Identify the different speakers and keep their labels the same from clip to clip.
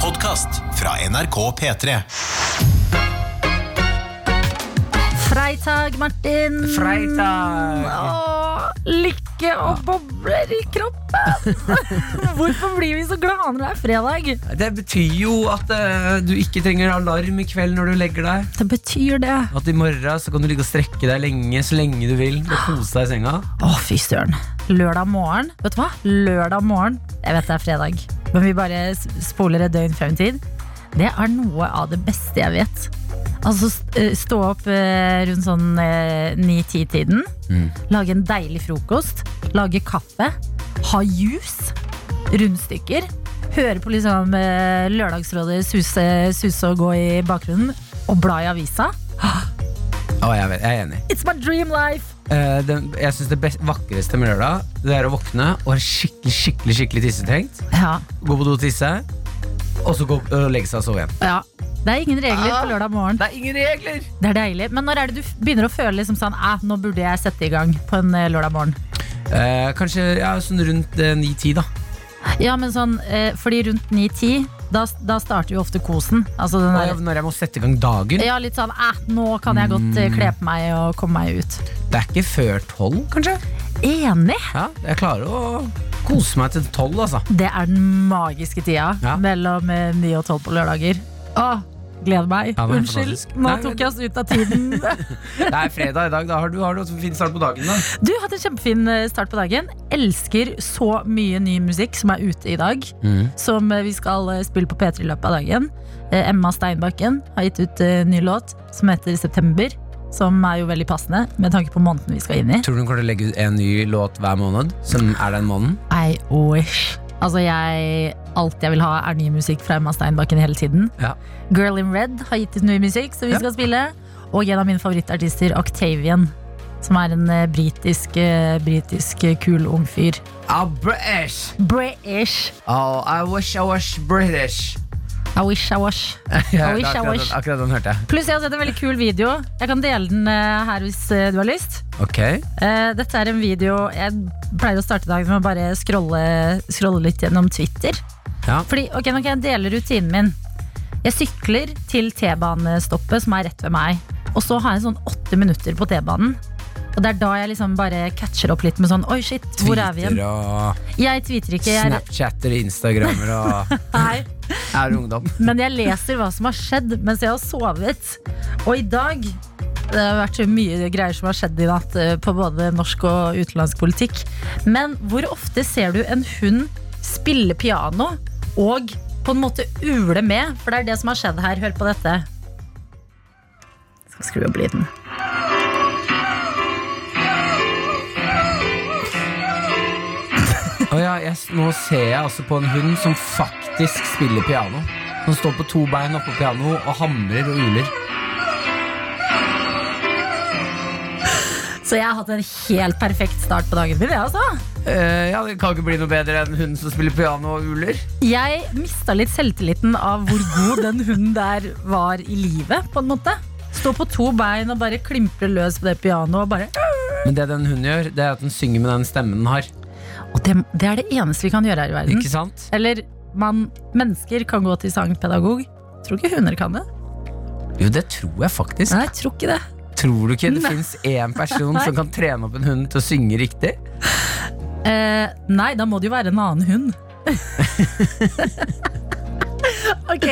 Speaker 1: podkast fra NRK P3.
Speaker 2: Freitag, Martin.
Speaker 3: Freitag!
Speaker 2: Åh, lykke og bobler i kroppen. Hvorfor blir vi så glade når det er fredag?
Speaker 3: Det betyr jo at eh, du ikke trenger alarm i kveld når du legger deg.
Speaker 2: Det betyr det.
Speaker 3: At i morgen så kan du ligge og strekke deg lenge så lenge du vil og kose deg i senga.
Speaker 2: Å, fy søren. Lørdag morgen. Vet du hva? Lørdag morgen. Jeg vet det er fredag, men vi bare s- spoler et døgn frem i tid. Det er noe av det beste jeg vet. Altså st- eh, stå opp eh, rundt sånn eh, 9-10-tiden. Lage en deilig frokost. Lage kaffe. Ha juice. Rundstykker. Høre på liksom eh, Lørdagsrådet suse, suse og gå i bakgrunnen. Og bla i avisa.
Speaker 3: Å, jeg, vet, jeg er enig.
Speaker 2: It's my dream life!
Speaker 3: Eh, den, jeg syns det best, vakreste med lørdag Det er å våkne og være skikkelig skikkelig, skikkelig tissetrengt.
Speaker 2: Ja,
Speaker 3: Gå på do og tisse, og så gå og legge seg og sove igjen.
Speaker 2: ja. Det er ingen regler på lørdag morgen.
Speaker 3: Det er ingen regler!
Speaker 2: Det er deilig. Men når er det du f- begynner å føle liksom sånn eh, Nå burde jeg sette i gang på en eh, lørdag morgen.
Speaker 3: Eh, kanskje ja, sånn rundt eh, 9-10, da.
Speaker 2: Ja, men sånn, eh, fordi rundt 9-10, da, da starter jo ofte kosen. Altså den
Speaker 3: Når jeg,
Speaker 2: der,
Speaker 3: når jeg må sette i gang dagen.
Speaker 2: ja, litt sånn eh, nå kan jeg godt
Speaker 3: Mm.
Speaker 2: eh, kle på meg og komme meg ut.
Speaker 3: Det er ikke før 12, kanskje.
Speaker 2: Enig!
Speaker 3: Ja, jeg klarer å kose meg til 12, altså.
Speaker 2: Det er den magiske tida
Speaker 3: Ja.
Speaker 2: mellom eh, 9 og 12 på lørdager. Åh, gleder meg.
Speaker 3: Ja, men
Speaker 2: Unnskyld,
Speaker 3: fantastisk.
Speaker 2: nå
Speaker 3: Nei, men-
Speaker 2: tok jeg oss ut av tiden.
Speaker 3: Det er fredag i dag. Da har du, har du en fin start på dagen. da
Speaker 2: Du har hatt en kjempefin eh, start på dagen. Elsker så mye ny musikk som er ute i dag. Som eh, vi skal eh, spille på P3 i løpet av dagen. Eh, Emma Steinbakken har gitt ut eh, ny låt som heter September. Som er jo veldig passende med tanke på måneden vi skal inn i.
Speaker 3: Tror du hun kommer til å legge ut en ny låt hver måned? Som er den måneden?
Speaker 2: I wish. Altså jeg, Alt jeg vil ha, er ny musikk fra Emma Steinbakken hele tiden.
Speaker 3: Ja.
Speaker 2: Girl in Red har gitt ut ny musikk som vi
Speaker 3: Ja.
Speaker 2: skal spille. Og en av mine favorittartister, Octavian. Som er en eh, britisk, eh, britisk eh, kul ung fyr.
Speaker 3: Ah, British!
Speaker 2: British.
Speaker 3: Oh, I wish I was British.
Speaker 2: I wish I was. I wish I
Speaker 3: akkurat,
Speaker 2: was.
Speaker 3: den, akkurat den hørte jeg.
Speaker 2: Pluss jeg har sett en veldig kul video. Jeg kan dele den eh, her hvis eh, du har lyst.
Speaker 3: Ok
Speaker 2: Eh, Dette er en video Jeg pleier å starte dagen med å bare scrolle, scrolle litt gjennom Twitter.
Speaker 3: Ja.
Speaker 2: Fordi, ok, nå kan jeg dele rutinen min. Jeg sykler til T-banestoppet som er rett ved meg. Og så har jeg sånn åtte minutter på T-banen. Og det er da jeg liksom bare catcher opp litt med sånn Oi, shit, hvor er vi igjen?
Speaker 3: Tweeter og
Speaker 2: Jeg tweeter ikke. Jeg er,
Speaker 3: Snapchatter, Instagrammer og
Speaker 2: nei,
Speaker 3: er ungdom.
Speaker 2: Men jeg leser hva som har skjedd mens jeg har sovet. Og i dag det har vært så mye greier som har skjedd i natt eh, på både norsk og utenlandsk politikk. Men hvor ofte ser du en hund spille piano og på en måte ule med? For det er det som har skjedd her. Hør på dette. Jeg skal skru opp lyden.
Speaker 3: Og ja, jeg, nå ser jeg altså på en hund som faktisk spiller piano. Som står på to bein oppå piano og hamrer og uler.
Speaker 2: Så jeg har hatt en helt perfekt start på dagen min. Jeg, altså.
Speaker 3: Eh, ja, Det kan ikke bli noe bedre enn hun som spiller piano og uler.
Speaker 2: jeg mista litt selvtilliten av hvor god den hunden der var i livet, på en måte. Stå på to bein og bare klimpre løs på det pianoet. Og bare
Speaker 3: Men det den hunden gjør, det er at den synger med den stemmen den har.
Speaker 2: Og det, det er det eneste vi kan gjøre her i verden.
Speaker 3: Ikke sant?
Speaker 2: Eller man, mennesker kan gå til sangpedagog. Tror ikke hunder kan det.
Speaker 3: Jo, det tror jeg faktisk.
Speaker 2: Nei, jeg tror ikke det.
Speaker 3: Tror du ikke det
Speaker 2: Nei.
Speaker 3: fins én person som kan trene opp en hund til å synge riktig?
Speaker 2: Eh, nei, da må det jo være en annen hund. ok,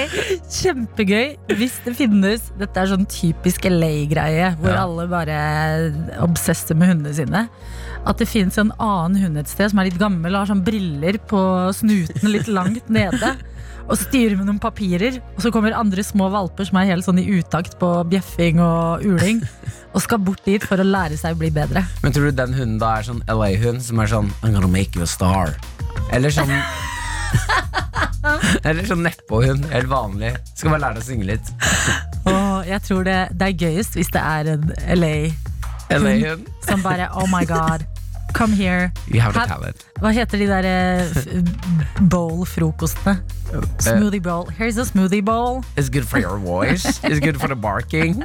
Speaker 2: kjempegøy hvis det finnes Dette er sånn typisk LA-greie, hvor
Speaker 3: Ja.
Speaker 2: alle bare obsesser med hundene sine. At det fins en annen hund et sted som er litt gammel og har sånn briller på snuten litt langt nede. Og styrer med noen papirer. Og så kommer andre små valper som er helt sånn i utakt på bjeffing og uling. Og skal bort dit for å lære seg å bli bedre.
Speaker 3: Men tror du den hunden da er sånn LA-hund som er sånn I'm gonna make you a star? Eller sånn Eller sånn nedpå-hund. Helt vanlig. Skal bare lære deg å synge litt.
Speaker 2: Og jeg tror det, det er gøyest hvis det er en LA
Speaker 3: LA-hund.
Speaker 2: som bare Oh my god, come here.
Speaker 3: You have the
Speaker 2: Her-
Speaker 3: talent.
Speaker 2: Hva heter de der eh, f- bowl-frokostene? Smoothie bowl. Here's a smoothie bowl.
Speaker 3: It's good for your voice. It's good for the barking.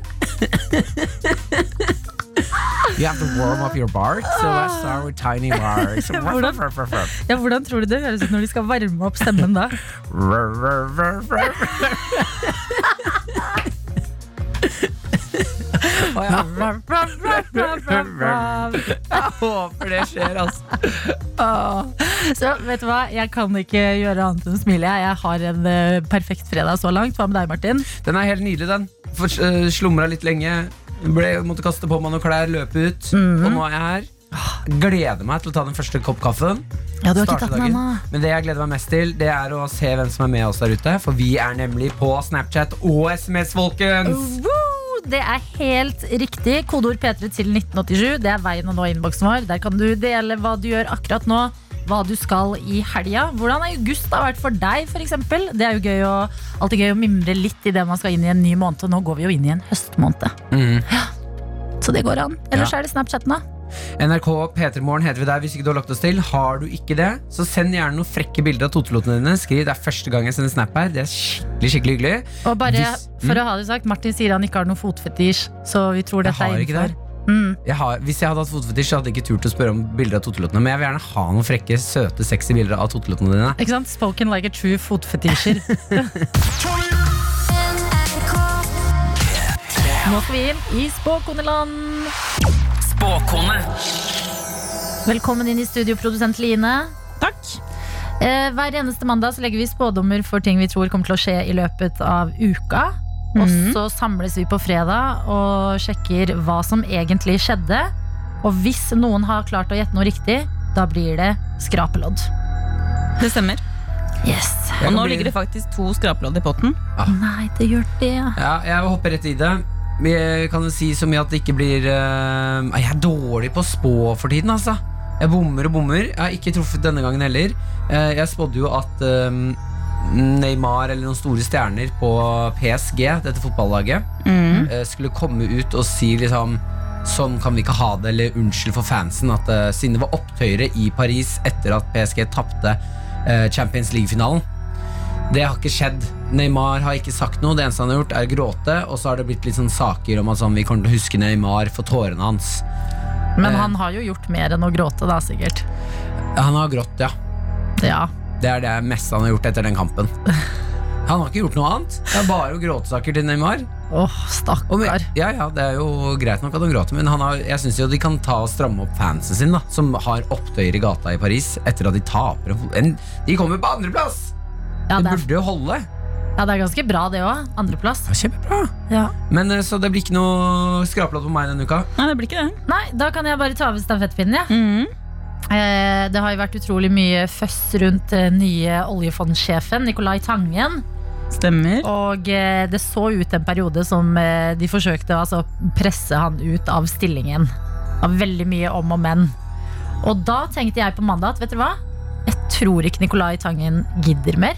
Speaker 3: You have to warm up your bark, so let's start with tiny barks.
Speaker 2: Hvordan- Ja, hvordan tror du det høres ut når de skal varme opp stemmen da?
Speaker 3: Å ja. Jeg håper det skjer, altså.
Speaker 2: Så vet du hva, jeg kan ikke gjøre annet enn å smile. jeg. Jeg har en eh, perfekt fredag så langt. Hva med deg, Martin?
Speaker 3: Den er helt nydelig, den. For, eh, slumra litt lenge. Ble, måtte kaste på meg noen klær, løpe ut. Og nå er jeg her. Gleder meg til å ta den første kopp kaffen.
Speaker 2: Ja, du har ikke
Speaker 3: Starte
Speaker 2: tatt den
Speaker 3: dagen.
Speaker 2: ennå.
Speaker 3: Men det jeg gleder meg mest til, Det er å se hvem som er med oss der ute. For vi er nemlig på Snapchat og SMS,
Speaker 2: Oh.
Speaker 3: folkens!
Speaker 2: Woo! Det er helt riktig. Kodeord P3 til 1987. Det er veien å nå innboksen vår. Der kan du dele hva du gjør akkurat nå. Hva du skal i helga. Hvordan august har vært for deg, f.eks. Det er jo gøy å, alltid gøy å mimre litt idet man skal inn i en ny måned. Og nå går vi jo inn i en høstmåned.
Speaker 3: Mm.
Speaker 2: Så det går an. Ellers
Speaker 3: Ja.
Speaker 2: er det Snapchaten, da.
Speaker 3: NRK P3morgen heter vi der hvis ikke du har lagt oss til. Har du ikke det, så send gjerne noen frekke bilder av totelotene dine. Skriv det er første gang jeg sender snap her. Det er skikkelig skikkelig hyggelig.
Speaker 2: Og bare
Speaker 3: Hvis- Mm.
Speaker 2: for å ha det sagt, Martin sier han ikke har noen fotfetisj, så vi tror
Speaker 3: Jeg
Speaker 2: dette
Speaker 3: har
Speaker 2: er
Speaker 3: ikke
Speaker 2: innenfor.
Speaker 3: det
Speaker 2: Mm.
Speaker 3: Jeg har, hvis jeg hadde hatt fotfetisj, så hadde jeg ikke turt å spørre om bilder av totelotene. Men jeg vil gjerne ha noen frekke, søte, sexy bilder av totelotene dine.
Speaker 2: Ikke sant? Spoken like a true fotfetisjer. Nå skal vi inn i spåkoneland.
Speaker 4: Spåkone.
Speaker 2: Velkommen inn i studio, produsent Line.
Speaker 4: Takk.
Speaker 2: Eh, hver eneste mandag så legger vi spådommer for ting vi tror kommer til å skje i løpet av uka. Og så samles vi på fredag og sjekker hva som egentlig skjedde. Og hvis noen har klart å gjette noe riktig, da blir det skrapelodd.
Speaker 4: Det stemmer.
Speaker 2: Yes.
Speaker 4: Og nå ligger det faktisk to skrapelodd i potten.
Speaker 2: Nei, det gjør det.
Speaker 3: Ja, jeg vil hoppe rett i det. Men Jeg kan jo si så mye at det ikke blir eh, Jeg er dårlig på å spå for tiden, altså. Jeg bommer og bommer. Jeg har ikke truffet denne gangen heller. Eh, jeg spådde jo at eh, Neymar eller noen store stjerner på PSG, dette fotballaget, eh, skulle komme ut og si liksom Sånn kan vi ikke ha det, eller unnskyld for fansen. At eh, siden det var opptøyere i Paris etter at PSG tapte eh, Champions League-finalen. Det har ikke skjedd. Neymar har ikke sagt noe. Det eneste han har gjort, er å gråte. Og så har det blitt litt sånn saker om at sånn, vi kommer til å huske Neymar for tårene hans.
Speaker 2: Men
Speaker 3: Eh.
Speaker 2: han har jo gjort mer enn å gråte, da, sikkert.
Speaker 3: Han har grått, ja.
Speaker 2: Ja.
Speaker 3: Det er det meste han har gjort etter den kampen. Han har ikke gjort noe annet. Det er bare gråtesaker til Neymar.
Speaker 2: Åh,
Speaker 3: Og men,
Speaker 2: stakkar.
Speaker 3: ja, ja, det er jo greit nok at han gråter, men han har, jeg syns jo de kan ta og stramme opp fansen sin, da. Som har opptøyer i gata i Paris etter at de taper en fot- en De kommer på andreplass!
Speaker 2: Ja,
Speaker 3: det
Speaker 2: det er,
Speaker 3: burde jo holde.
Speaker 2: ja, det er ganske bra, det òg. Andreplass.
Speaker 3: Det var kjempebra.
Speaker 2: Ja.
Speaker 3: Men eh, så det blir ikke noe skrapelodd på meg denne uka.
Speaker 4: Nei, det blir ikke det.
Speaker 2: Nei, da kan jeg bare ta over stafettpinnen, jeg.
Speaker 4: Mhm.
Speaker 2: Eh, det har jo vært utrolig mye føss rundt eh, nye oljefondsjefen, Nicolai Tangen.
Speaker 4: Stemmer.
Speaker 2: Og eh, det så ut en periode som eh, de forsøkte å altså, presse han ut av stillingen. Det var veldig mye om og men. Og da tenkte jeg på mandag at vet dere hva? Jeg tror ikke Nicolai Tangen gidder mer.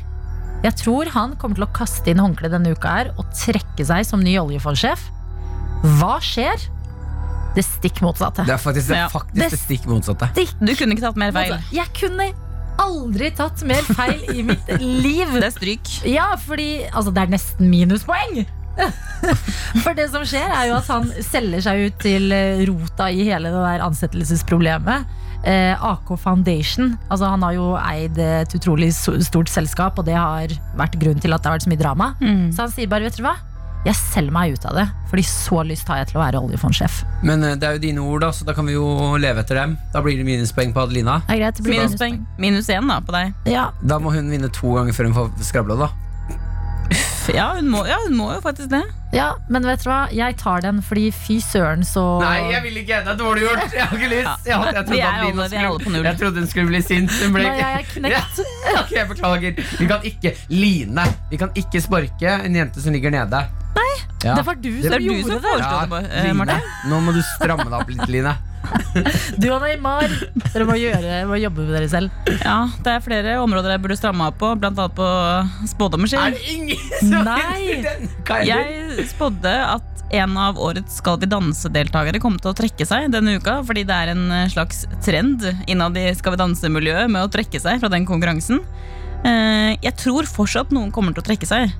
Speaker 2: Jeg tror han kommer til å kaste inn håndkleet denne uka her og trekke seg som ny oljefondsjef. Hva skjer? Det stikk motsatte.
Speaker 3: Det er faktisk det, er
Speaker 4: Ja.
Speaker 3: faktisk det stikk motsatte.
Speaker 4: Du kunne ikke tatt mer feil.
Speaker 2: Altså, Jeg kunne aldri tatt mer feil i mitt liv.
Speaker 4: Det er stryk.
Speaker 2: Ja, fordi altså, det er nesten minuspoeng. For det som skjer, er jo at han selger seg ut til eh, rota i hele det der ansettelsesproblemet. Eh, AK Foundation. Altså, han har jo eid et utrolig so- stort selskap, og det har vært grunnen til at det har vært så mye drama.
Speaker 4: Mhm.
Speaker 2: Så han sier bare, vet dere hva? Jeg selger meg ut av det, fordi så lyst har jeg til å være oljefondsjef.
Speaker 3: Men eh, det er jo dine ord, da, så da kan vi jo leve etter dem. Da blir det minuspoeng på Adelina.
Speaker 2: Det er greit, det blir
Speaker 4: Minuspoeng. Minus én da, på deg.
Speaker 2: Ja,
Speaker 3: Da må hun vinne to ganger før hun får skrabla, da.
Speaker 4: Ja, hun må, ja, hun må jo faktisk det.
Speaker 2: Ja, men vet du hva? Jeg tar den, fordi fy søren så
Speaker 3: vil ikke! Det er dårlig gjort! Jeg har ikke lyst!
Speaker 4: Jeg- jeg trodde Vi er Adelina alle- vi er skulle- alle på null. jeg
Speaker 3: trodde hun skulle bli sint. Hun
Speaker 2: Nei, jeg er knekt.
Speaker 3: Ok, jeg beklager. Vi kan ikke Line, vi kan ikke sparke en jente som ligger nede. Ja.
Speaker 2: Det var du
Speaker 3: Det
Speaker 2: som
Speaker 4: var du
Speaker 2: gjorde
Speaker 4: som
Speaker 2: det.
Speaker 4: foreslo det, Mar- eh, Marte.
Speaker 3: Nå må du stramme deg opp litt, Line.
Speaker 2: Du og Neymar. Dere må, gjøre, må jobbe med dere selv.
Speaker 4: Ja, det er flere områder jeg burde stramme av på, blant annet på spådommer sin.
Speaker 3: ingen
Speaker 2: Nei.
Speaker 3: den? Hva er det?
Speaker 4: Jeg spådde at en av årets Skal vi danse-deltakere kom til å trekke seg denne uka, fordi det er en eh, slags trend innad i Skal vi danse-miljøet med å trekke seg fra den konkurransen. Eh, Jeg tror fortsatt noen kommer til å trekke seg.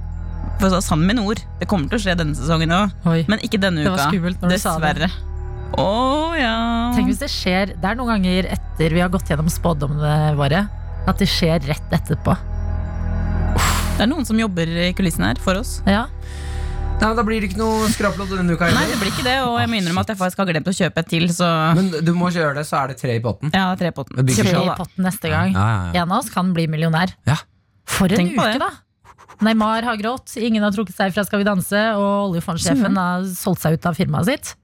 Speaker 4: For så, sammen med ord. Det kommer til å skje denne sesongen òg,
Speaker 2: Oi.
Speaker 4: men ikke denne
Speaker 2: Det var
Speaker 4: uka.
Speaker 2: skummelt når du sa det.
Speaker 4: Dessverre. Å ja.
Speaker 2: Tenk hvis det skjer Det er noen ganger etter vi har gått gjennom spådommene våre, at det skjer rett etterpå.
Speaker 4: Det er noen som jobber i kulissene her for oss.
Speaker 2: Ja.
Speaker 3: Nei, men Da blir det ikke noe skrapelodd denne uka
Speaker 4: Nei,
Speaker 3: heller.
Speaker 4: det blir ikke det, og jeg må innrømme at jeg faktisk har glemt å kjøpe et til, så
Speaker 3: Men du må ikke gjøre det, så er det tre i potten.
Speaker 4: jeg har tre på den.
Speaker 3: Det blir
Speaker 2: Tre
Speaker 3: ikke sånn.
Speaker 4: Kjøp
Speaker 2: i
Speaker 4: sånn da.
Speaker 2: potten neste gang. En av oss kan bli millionær.
Speaker 3: Ja.
Speaker 2: For en
Speaker 4: Tenk på
Speaker 2: uke,
Speaker 4: det.
Speaker 2: da! Neymar har grått, ingen har trukket seg fra Skal vi danse, og oljefondsjefen har solgt seg ut av firmaet sitt.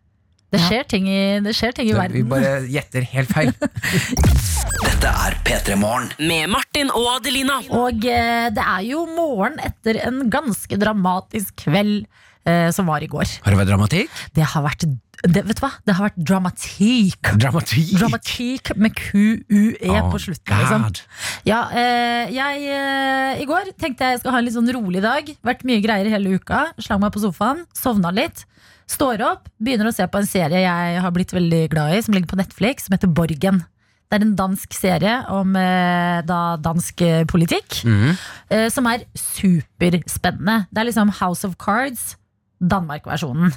Speaker 2: Det
Speaker 4: Ja.
Speaker 2: skjer ting i, det skjer ting i
Speaker 3: Vi
Speaker 2: verden.
Speaker 3: bare gjetter helt feil.
Speaker 5: Dette er P3 Morgen.
Speaker 6: Med Martin og Adelina.
Speaker 2: Og eh, det er jo morgen etter en ganske dramatisk kveld eh, som var i går.
Speaker 3: Har det vært dramatikk?
Speaker 2: Det har vært det, Vet du hva? Det har vært dramatikk.
Speaker 3: Dramatikk!
Speaker 2: Dramatikk med QUE
Speaker 3: Oh,
Speaker 2: på slutten, liksom.
Speaker 3: God.
Speaker 2: Ja, eh, jeg eh, I går tenkte jeg jeg skal ha en litt sånn rolig dag. Vært mye greier hele uka. Slang meg på sofaen, sovna litt. Står opp, begynner å se på en serie jeg har blitt veldig glad i, som ligger på Netflix, som heter Borgen. Det er en dansk serie om eh, da dansk eh, politikk,
Speaker 3: Mhm.
Speaker 2: eh, som er superspennende. Det er liksom House of Cards, Danmark-versjonen.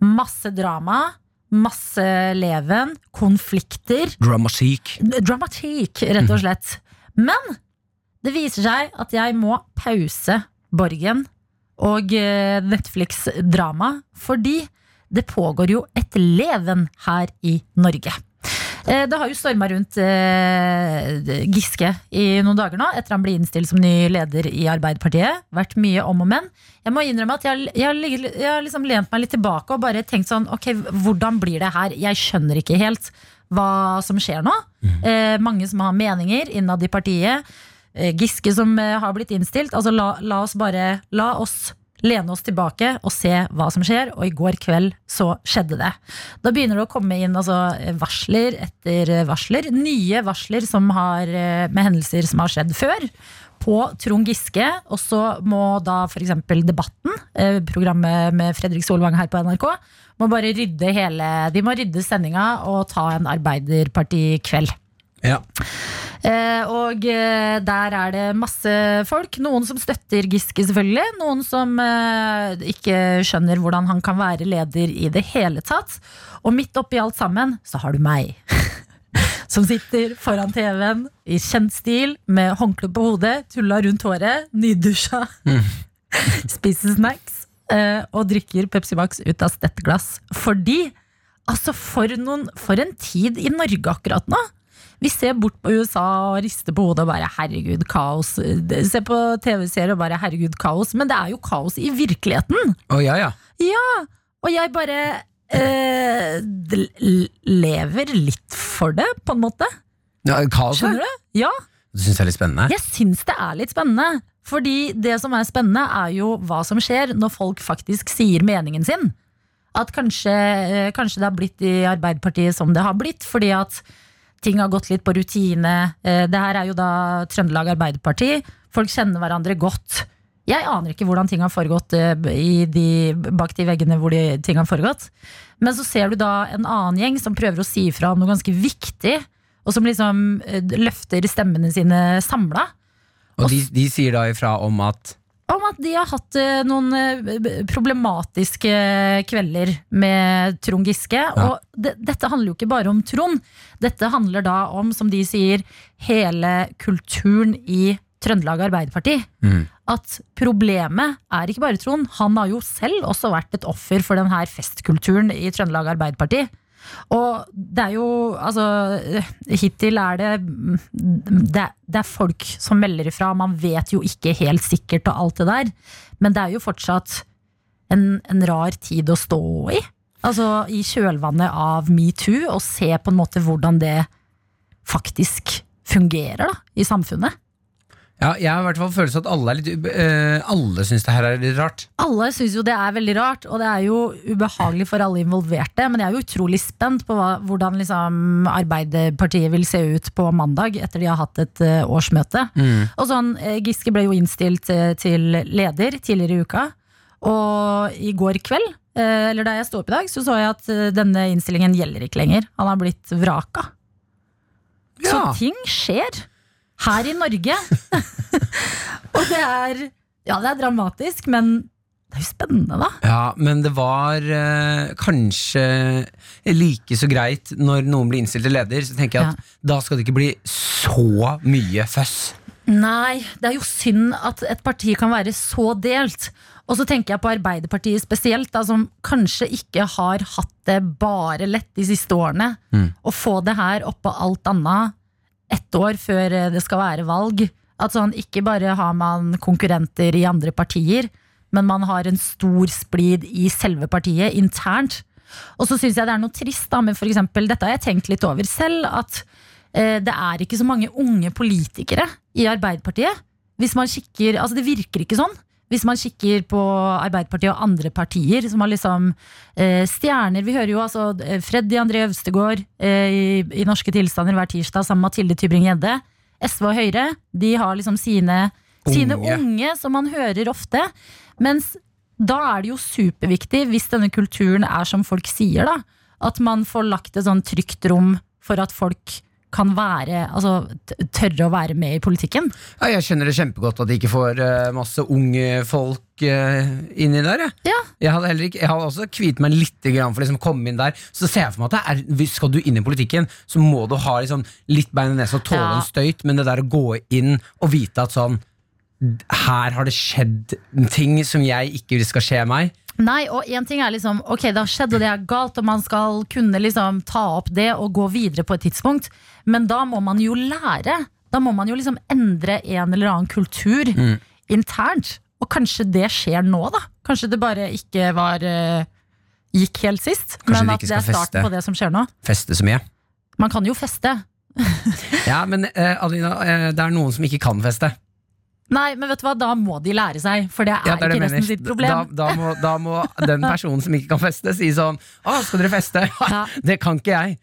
Speaker 2: Masse drama, masse leven, konflikter.
Speaker 3: Dramatikk.
Speaker 2: Dramatikk, rett og slett. Men det viser seg at jeg må pause Borgen og eh, Netflix-drama, fordi det pågår jo et leven her i Norge. Eh, Det har jo storma rundt eh, Giske i noen dager nå, etter han ble innstilt som ny leder i Arbeiderpartiet. Vært mye om og men. Jeg må innrømme at jeg, jeg, har ligget- jeg har liksom lent meg litt tilbake og bare tenkt sånn Ok, hvordan blir det her? Jeg skjønner ikke helt hva som skjer nå. Eh, mange som har meninger innad i partiet. Eh, Giske som eh, har blitt innstilt. Altså la, la oss bare La oss lene oss tilbake og se hva som skjer. Og i går kveld så skjedde det. Da begynner det å komme inn altså, varsler etter varsler. Nye varsler som har, eh, med hendelser som har skjedd før. På Trond Giske, og så må da f.eks. Debatten, eh, programmet med Fredrik Solvang her på NRK, må bare rydde hele De må rydde sendinga og ta en Arbeiderparti-kveld.
Speaker 3: Ja.
Speaker 2: Eh, og eh, der er det masse folk. Noen som støtter Giske, selvfølgelig. Noen som eh, ikke skjønner hvordan han kan være leder i det hele tatt. Og midt oppi alt sammen så har du meg. Som sitter foran TV-en i kjent stil, med håndkle på hodet, tulla rundt håret, nydusja, spiser snacks eh, og drikker Pepsi Max ut av stettglass. Fordi, altså for, noen, for en tid i Norge akkurat nå. Vi ser bort på USA og rister på hodet og bare 'herregud, kaos'. Se på TV-serier og bare 'herregud, kaos'. Men det er jo kaos i virkeligheten.
Speaker 3: Å ja, ja.
Speaker 2: Og jeg bare eh, d- l- lever litt for det, på en måte.
Speaker 3: ja kaos,
Speaker 2: Skjønner du? Ja,
Speaker 3: Du syns det er litt spennende?
Speaker 2: jeg syns det er litt spennende. Fordi det som er spennende, er jo hva som skjer når folk faktisk sier meningen sin. At kanskje, eh, kanskje det har blitt i Arbeiderpartiet som det har blitt, fordi at ting har gått litt på rutine. Eh, Det her er jo da Trøndelag Arbeiderparti. Folk kjenner hverandre godt. Jeg aner ikke hvordan ting har foregått eh, b- i de, bak de veggene hvor de ting har foregått. Men så ser du da en annen gjeng som prøver å si ifra om noe ganske viktig, og som liksom eh, løfter stemmene sine samla.
Speaker 3: Og de, de sier da ifra om at
Speaker 2: Om at de har hatt eh, noen eh, b- b- problematiske kvelder med Trond Giske. Og de, dette handler jo ikke bare om Trond. Dette handler da om, som de sier, hele kulturen i Trøndelag Arbeiderparti.
Speaker 3: Mhm.
Speaker 2: At problemet er ikke bare Trond. Han har jo selv også vært et offer for denne festkulturen i Trøndelag Arbeiderparti. Og det er jo Altså, hittil er det Det, er- det er folk som melder ifra. Man vet jo ikke helt sikkert og alt det der. Men det er jo fortsatt en, en rar tid å stå i. Altså i kjølvannet av metoo, og se på en måte hvordan det faktisk fungerer da, i samfunnet.
Speaker 3: Ja, jeg har i hvert fall følelse at alle er litt ube- eh, Alle syns det her er litt rart.
Speaker 2: Alle syns jo det er veldig rart, og det er jo ubehagelig for alle involverte. Men jeg er jo utrolig spent på hva, hvordan liksom Arbeiderpartiet vil se ut på mandag, etter de har hatt et eh, årsmøte. Og sånn, eh, Giske ble jo innstilt eh, til leder tidligere i uka, og i går kveld, eh, eller da jeg sto opp i dag, så så jeg at eh, denne innstillingen gjelder ikke lenger. Han har blitt vraka. Så
Speaker 3: Ja.
Speaker 2: ting skjer her i Norge. og det er Ja, det er dramatisk, men Det er jo spennende, da.
Speaker 3: Ja, men det var eh, kanskje like så greit når noen blir innstilt til leder. Så tenker jeg at da skal det ikke bli så mye føss.
Speaker 2: Nei, det er jo synd at et parti kan være så delt. Og så tenker jeg på Arbeiderpartiet spesielt, da, som kanskje ikke har hatt det bare lett de siste årene. Å få det her oppå alt annet ett år før eh, det skal være valg. At sånn, ikke bare har man konkurrenter i andre partier, men man har en stor splid i selve partiet internt. Og så syns jeg det er noe trist, da, men for eksempel, dette har jeg tenkt litt over selv, at eh, det er ikke så mange unge politikere i Arbeiderpartiet. Hvis man kikker, altså Det virker ikke sånn. Hvis man kikker på Arbeiderpartiet og andre partier som har liksom eh, stjerner Vi hører jo altså eh, Freddy André Øvstegård eh, i, i Norske tilstander hver tirsdag sammen med Mathilde Tybring-Gjedde. SV og Høyre de har liksom sine unge. sine
Speaker 3: Unge.
Speaker 2: unge, som man hører ofte. Mens da er det jo superviktig, hvis denne kulturen er som folk sier, da, at man får lagt et sånn trygt rom for at folk kan være, altså t- tørre å være med i politikken.
Speaker 3: Ja, jeg skjønner det kjempegodt at de ikke får eh, masse unge folk eh, inni der. Jeg.
Speaker 2: Ja.
Speaker 3: Jeg, hadde heller ikke, jeg hadde også kviet meg litt grann for liksom å komme inn der. Så ser jeg for meg at det er, hvis skal du inn i politikken, så må du ha liksom litt bein i nesa og tåle
Speaker 2: Ja.
Speaker 3: en støyt, men det der å gå inn og vite at sånn her har det skjedd ting som jeg ikke vil skal skje meg.
Speaker 2: Nei, og en ting er liksom, ok, det har skjedd og det er galt, og man skal kunne liksom ta opp det og gå videre på et tidspunkt, men da må man jo lære, da må man jo liksom endre en eller annen kultur
Speaker 3: Mm.
Speaker 2: internt, og kanskje det skjer nå da, kanskje det bare ikke var, eh, gikk helt sist,
Speaker 3: Kanskje
Speaker 2: men
Speaker 3: det
Speaker 2: at
Speaker 3: ikke
Speaker 2: det er
Speaker 3: skal
Speaker 2: starten
Speaker 3: feste.
Speaker 2: på det som skjer nå.
Speaker 3: Feste så mye.
Speaker 2: Man kan jo feste.
Speaker 3: Ja, men eh, Adelina, eh, det er noen som ikke kan feste.
Speaker 2: Nei, men vet du hva, da må de lære seg, for det er,
Speaker 3: Ja, det er det
Speaker 2: ikke
Speaker 3: jeg
Speaker 2: resten
Speaker 3: mener.
Speaker 2: sitt problem.
Speaker 3: Da, da, må, da må den personen som ikke kan feste, si sånn Å, skal dere feste?
Speaker 2: Ja.
Speaker 3: Det kan ikke jeg.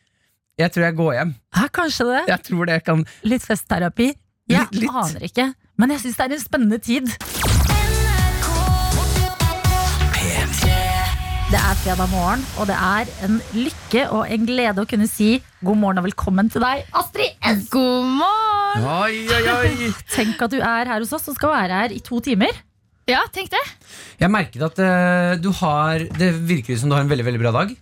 Speaker 3: Jeg tror jeg går hjem.
Speaker 2: Ja, kanskje det.
Speaker 3: Jeg tror det kan
Speaker 2: Litt festterapi. Jeg
Speaker 3: Litt- litt.
Speaker 2: aner ikke, men jeg syns det er en spennende tid. Det er fredag morgen, og det er en lykke og en glede å kunne si god morgen og velkommen til deg, Astrid S.
Speaker 7: God morgen!
Speaker 3: Oi, oi, oi!
Speaker 2: Tenk at du er her hos oss og skal være her i to timer.
Speaker 7: Ja, tenk det.
Speaker 3: Jeg merket at eh, du har Det virker som du har en veldig veldig bra dag.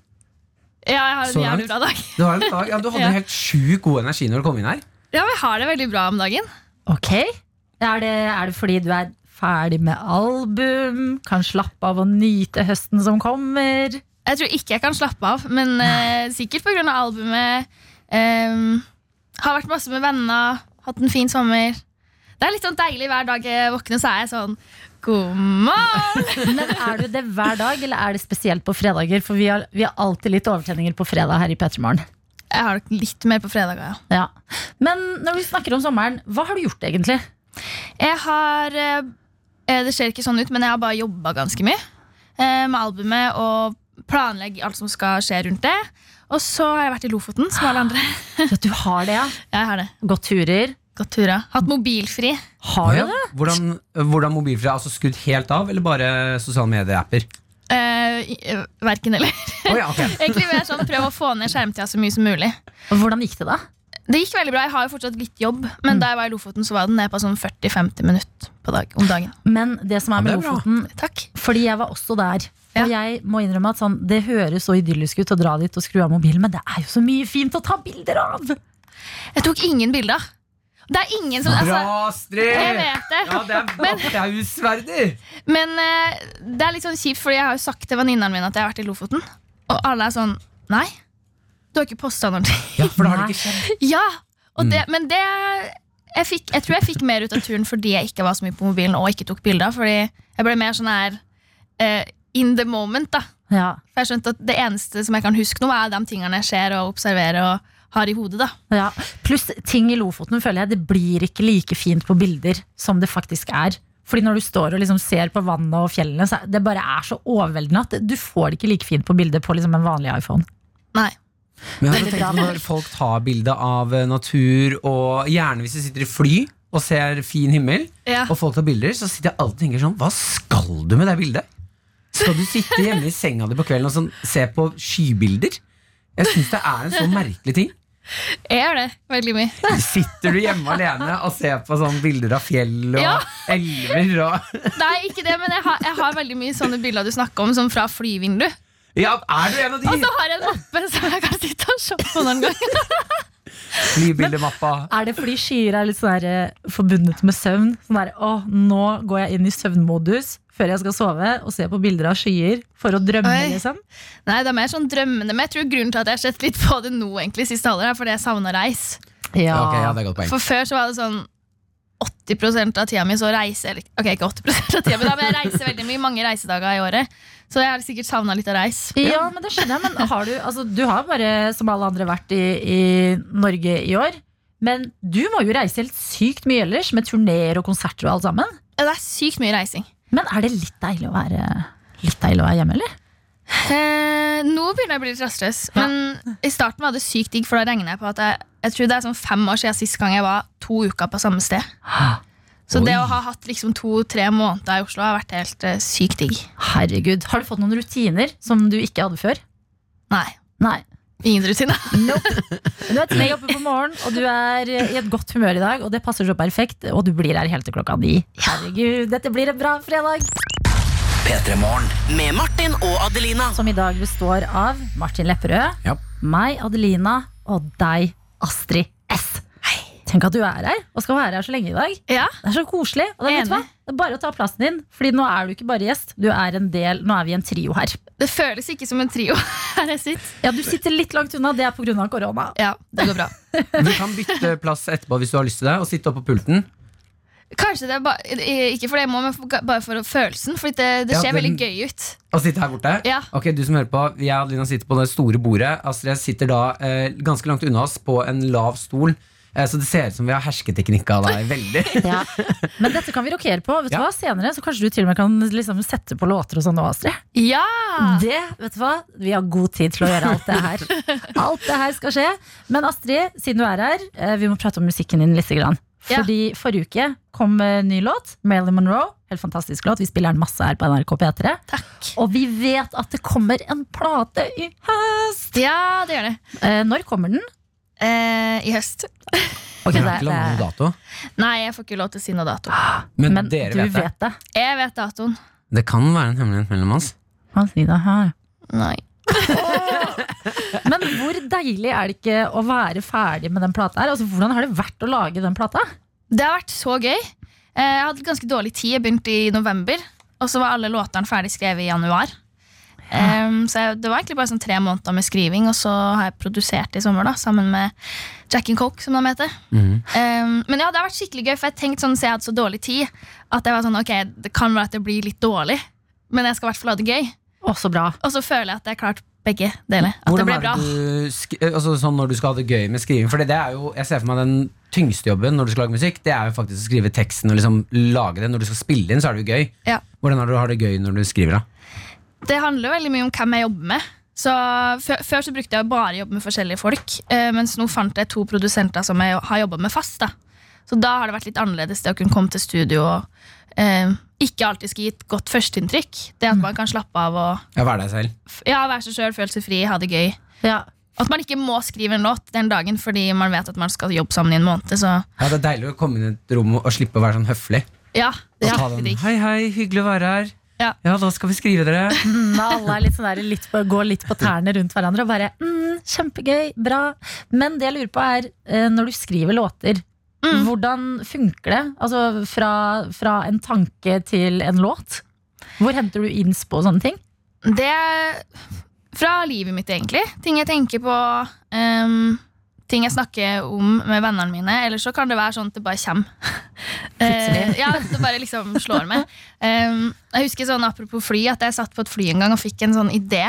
Speaker 7: Ja, jeg har en
Speaker 3: Så
Speaker 7: jævlig
Speaker 3: langt.
Speaker 7: bra dag.
Speaker 3: Du, har en dag, ja, du hadde
Speaker 7: Ja.
Speaker 3: helt sjukt god energi når du kom inn her.
Speaker 7: Ja, men jeg har det veldig bra om dagen.
Speaker 2: Ok. Er det, er det fordi du er ferdig med album, kan slappe av og nyte høsten som kommer?
Speaker 7: Jeg tror ikke jeg kan slappe av, men eh, sikkert pga. albumet. Em, har vært masse med venner, hatt en fin sommer. Det er litt sånn deilig hver dag jeg våkner, så er jeg sånn God morgen!
Speaker 2: Men er du det hver dag, eller er det spesielt på fredager? For vi har, vi har alltid litt overtenninger på fredag her i Petremorgen.
Speaker 7: Jeg har nok litt mer på fredager, ja.
Speaker 2: Ja. Men når vi snakker om sommeren, hva har du gjort egentlig?
Speaker 7: Jeg har eh, eh, Det ser ikke sånn ut, men jeg har bare jobba ganske mye eh, med albumet og planlegger alt som skal skje rundt det. Og så har jeg vært i Lofoten, som alle andre.
Speaker 2: Ja, du har det, ja.
Speaker 7: Jeg har det.
Speaker 2: Gått turer.
Speaker 7: Gått turer. Hatt mobilfri.
Speaker 2: Har du
Speaker 3: Ja.
Speaker 2: det?
Speaker 3: Hvordan, hvordan mobilfri? Altså skrudd helt av, eller bare sosiale medier-apper?
Speaker 7: Eh, i- eh, verken eller.
Speaker 3: Å ja, ok.
Speaker 7: Egentlig vil jeg sånn prøve å få ned skjermtida så mye som mulig.
Speaker 2: Og Hvordan gikk det da?
Speaker 7: Det gikk veldig bra. Jeg har jo fortsatt litt jobb, men da jeg var i Lofoten, så var den ned på sånn 40-50 minutter på dag, om dagen.
Speaker 2: Men det som er med
Speaker 3: det er bra.
Speaker 2: Lofoten,
Speaker 7: Takk.
Speaker 2: fordi jeg var også der,
Speaker 7: Ja.
Speaker 2: og jeg må innrømme at sånn, det høres så idyllisk ut å dra dit og skru av mobilen, men det er jo så mye fint å ta bilder av!
Speaker 7: Jeg tok ingen bilder. Det er ingen som
Speaker 3: Bra,
Speaker 7: altså, Jeg
Speaker 3: Astrid!
Speaker 7: vet det.
Speaker 3: Ja, det er applausverdig!
Speaker 7: Men eh, det er litt sånn kjipt, Fordi jeg har jo sagt til venninnene mine at jeg har vært i Lofoten. Og alle er sånn Nei, du har ikke posta noen ting.
Speaker 3: Ja, for da har det ikke skjedd.
Speaker 7: Ja, og det, men det jeg, fikk, jeg tror jeg fikk mer ut av turen fordi jeg ikke var så mye på mobilen og ikke tok bilder. Fordi jeg ble mer sånn her eh, in the moment, da.
Speaker 2: Ja,
Speaker 7: For jeg skjønte at det eneste som jeg kan huske nå, er de tingene jeg ser og observerer og har i hodet, da.
Speaker 2: ja. Pluss ting i Lofoten føler jeg det blir ikke like fint på bilder som det faktisk er. Fordi når du står og liksom ser på vannet og fjellene, så er- det bare er så overveldende at du får det ikke like fint på bildet på liksom en vanlig iPhone.
Speaker 7: Nei.
Speaker 3: Men jeg
Speaker 2: Veldig
Speaker 3: har
Speaker 2: bra.
Speaker 3: tenkt når folk tar bilde av eh, natur, og gjerne hvis de sitter i fly og ser fin himmel,
Speaker 7: Ja.
Speaker 3: og folk tar bilder, så sitter jeg alltid og tenker sånn Hva skal du med det bildet? Skal du sitte hjemme i senga di på kvelden og sånn, se på skybilder? Jeg syns det er en så merkelig ting.
Speaker 7: Jeg gjør det veldig mye.
Speaker 3: Sitter du hjemme alene og ser på sånne bilder av fjell og
Speaker 7: Ja.
Speaker 3: elver og
Speaker 7: Nei, ikke det, men jeg har, jeg har veldig mye sånne bilder du snakker om, som fra flyvindu.
Speaker 3: Ja, er du en av
Speaker 7: Og
Speaker 3: de?
Speaker 7: så har jeg en mappe som jeg kan sitte og se på noen ganger.
Speaker 3: Nybildemappa.
Speaker 2: Er det fordi skyer er litt sånn her, eh, forbundet med søvn? Sånn der, å, nå går jeg inn i søvnmodus før jeg skal sove og se på bilder av skyer for å drømme,
Speaker 7: Oi.
Speaker 2: liksom.
Speaker 7: Nei, det er mer sånn drømmende, men jeg tror grunnen til at jeg har sett litt på det nå, egentlig, siste halvår, er fordi jeg savna reis.
Speaker 2: Ja.
Speaker 3: Ok, ja, det er et godt poeng.
Speaker 7: For før så var det sånn 80 av tida mi så reiser eller, Ok, ikke 80 av tida, men da vil jeg reise veldig mye. Mange reisedager i året. Så jeg har sikkert savna litt å reise.
Speaker 2: Ja, men det skjønner jeg. Men har du, altså, du har bare, som alle andre, vært i, i Norge i år. Men du må jo reise helt sykt mye ellers, med turneer og konserter og alt sammen.
Speaker 7: Ja, Det er sykt mye reising.
Speaker 2: Men er det litt deilig å være, litt deilig å være hjemme, eller?
Speaker 7: Eh, nå begynner jeg å bli litt rastløs,
Speaker 2: Ja.
Speaker 7: men i starten var det sykt digg, for da regner jeg på at jeg, jeg tror det er sånn fem år siden sist gang jeg var to uker på samme sted. Så det å ha hatt liksom to-tre måneder i Oslo har vært helt eh, sykt digg.
Speaker 2: Herregud. Har du fått noen rutiner som du ikke hadde før?
Speaker 7: Nei.
Speaker 2: Nei.
Speaker 7: Ingen rutine.
Speaker 2: Nope. Du er tidlig oppe på morgenen, og du er eh, i et godt humør i dag, og det passer så perfekt, og du blir her helt til klokka ni. Herregud, dette blir en bra fredag!
Speaker 5: P3-morgen.
Speaker 6: Med Martin og Adelina.
Speaker 2: Som i dag består av Martin Lepperød,
Speaker 3: Ja.
Speaker 2: meg, Adelina, og deg, Astrid S. Tenk at du er her, og skal være her så lenge i dag.
Speaker 7: Ja,
Speaker 2: Det er så koselig. Og det, vet du hva?
Speaker 7: Enig.
Speaker 2: det er bare å ta plassen din, Fordi nå er du ikke bare gjest, du er en del, nå er vi en trio her.
Speaker 7: Det føles ikke som en trio her jeg sitter.
Speaker 2: Ja, Du sitter litt langt unna, det er pga. korona.
Speaker 7: Ja, det går bra.
Speaker 3: Du kan bytte plass etterpå hvis du har lyst til det, og sitte oppe på pulten.
Speaker 7: Kanskje det er ba Ikke for det jeg må, men for- bare for følelsen. For det, det
Speaker 3: Ja,
Speaker 7: ser
Speaker 3: den-
Speaker 7: veldig gøy ut.
Speaker 3: Og sitte her borte?
Speaker 7: Ja.
Speaker 3: Ok, du som hører på, Jeg og Adelina sitter på det store bordet. Astrid sitter da eh, ganske langt unna oss på en lav stol. Eh, så det ser ut som vi har hersketeknikk av deg veldig.
Speaker 2: Ja. Men dette kan vi rokere på. Vet du
Speaker 3: Ja.
Speaker 2: hva? Senere så kanskje du til og med kan liksom sette på låter og sånn nå, Astrid.
Speaker 7: Ja!
Speaker 2: Det, vet du hva? Vi har god tid til å gjøre alt det her. Alt det her skal skje. Men Astrid, siden du er her, eh, vi må prate om musikken din litt. Grann.
Speaker 7: Ja.
Speaker 2: Fordi forrige uke kom eh, ny låt, Marilyn Monroe. Helt fantastisk låt. Vi spiller den masse her på NRK P3.
Speaker 7: Takk.
Speaker 2: Og vi vet at det kommer en plate i høst!
Speaker 7: Ja, det gjør det.
Speaker 2: Eh, når kommer den?
Speaker 7: Eh, I høst.
Speaker 2: Ok,
Speaker 3: Jeg
Speaker 2: det-
Speaker 3: har ikke
Speaker 2: det-
Speaker 3: landet noen dato,
Speaker 7: Nei, jeg får ikke lov til å si noe dato.
Speaker 3: men,
Speaker 2: men
Speaker 3: dere
Speaker 2: du
Speaker 3: vet det.
Speaker 2: vet det.
Speaker 7: Jeg vet datoen.
Speaker 3: Det kan være en hemmelighet mellom oss.
Speaker 2: Han sier det her.
Speaker 7: Nei.
Speaker 2: Men hvor deilig er det ikke å være ferdig med den plata her? Altså, hvordan har det vært å lage den plata?
Speaker 7: Det har vært så gøy. Eh, Jeg hadde ganske dårlig tid. Jeg begynte i november, og så var alle låtene ferdig skrevet i januar. Em, så jeg, det var egentlig bare sånn tre måneder med skriving, og så har jeg produsert i sommer da, sammen med Jack and Coke, som de heter.
Speaker 3: Mhm.
Speaker 7: Em, men ja, det har vært skikkelig gøy, for jeg tenkte sånn, siden jeg hadde så dårlig tid, at jeg var sånn, ok, det kan være at det blir litt dårlig, men jeg skal i hvert fall ha det gøy.
Speaker 2: Å, så bra.
Speaker 7: Og så føler jeg at jeg har klart begge deler. At
Speaker 3: Hvordan
Speaker 7: det ble
Speaker 3: er
Speaker 7: bra.
Speaker 3: det du sk eh, altså, sånn når du skal ha det gøy med skriving? Fordi det er jo, jeg ser for meg den tyngste jobben når du skal lage musikk, det er jo faktisk å skrive teksten og liksom lage det. Når du skal spille inn, så er det jo gøy.
Speaker 7: Ja.
Speaker 3: Hvordan er det du har det gøy når du skriver, da?
Speaker 7: Det handler jo veldig mye om hvem jeg jobber med. Så før, før så brukte jeg å bare jobbe med forskjellige folk, eh, mens nå fant jeg to produsenter som jeg har jobba med fast. da. Så da har det vært litt annerledes det å kunne komme til studio og eh, ikke alltid skal gi et godt førsteinntrykk. Det
Speaker 3: Mm.
Speaker 7: at man kan slappe av og
Speaker 3: Ja, være deg selv.
Speaker 7: f- ja, være seg sjøl, føle seg fri, ha det gøy.
Speaker 2: Ja.
Speaker 7: At man ikke må skrive en låt den dagen fordi man vet at man skal jobbe sammen i en måned. Så
Speaker 3: Ja, Det er deilig å komme inn i et rom og slippe å være sånn høflig.
Speaker 7: ja,
Speaker 3: Og
Speaker 7: det er
Speaker 3: Altså, ta
Speaker 7: skikkelig
Speaker 3: den,
Speaker 7: digg.
Speaker 3: hei, hei, hyggelig å være her.
Speaker 7: Ja.
Speaker 3: da skal vi skrive dere.
Speaker 2: Mm, alle er litt sånn der, litt på, går litt på tærne rundt hverandre og bare mm, kjempegøy, bra. Men det jeg lurer på er, eh, når du skriver låter,
Speaker 7: Mm.
Speaker 2: hvordan funker det? Altså fra, fra en tanke til en låt? Hvor henter du innspo og sånne ting?
Speaker 7: Det er fra livet mitt, egentlig. Ting jeg tenker på. ehm, ting jeg snakker om med vennene mine. Eller så kan det være sånn at det bare kommer. Eh, ja, det bare liksom slår meg. Ehm, jeg husker sånn Apropos fly, at jeg satt på et fly en gang og fikk en sånn idé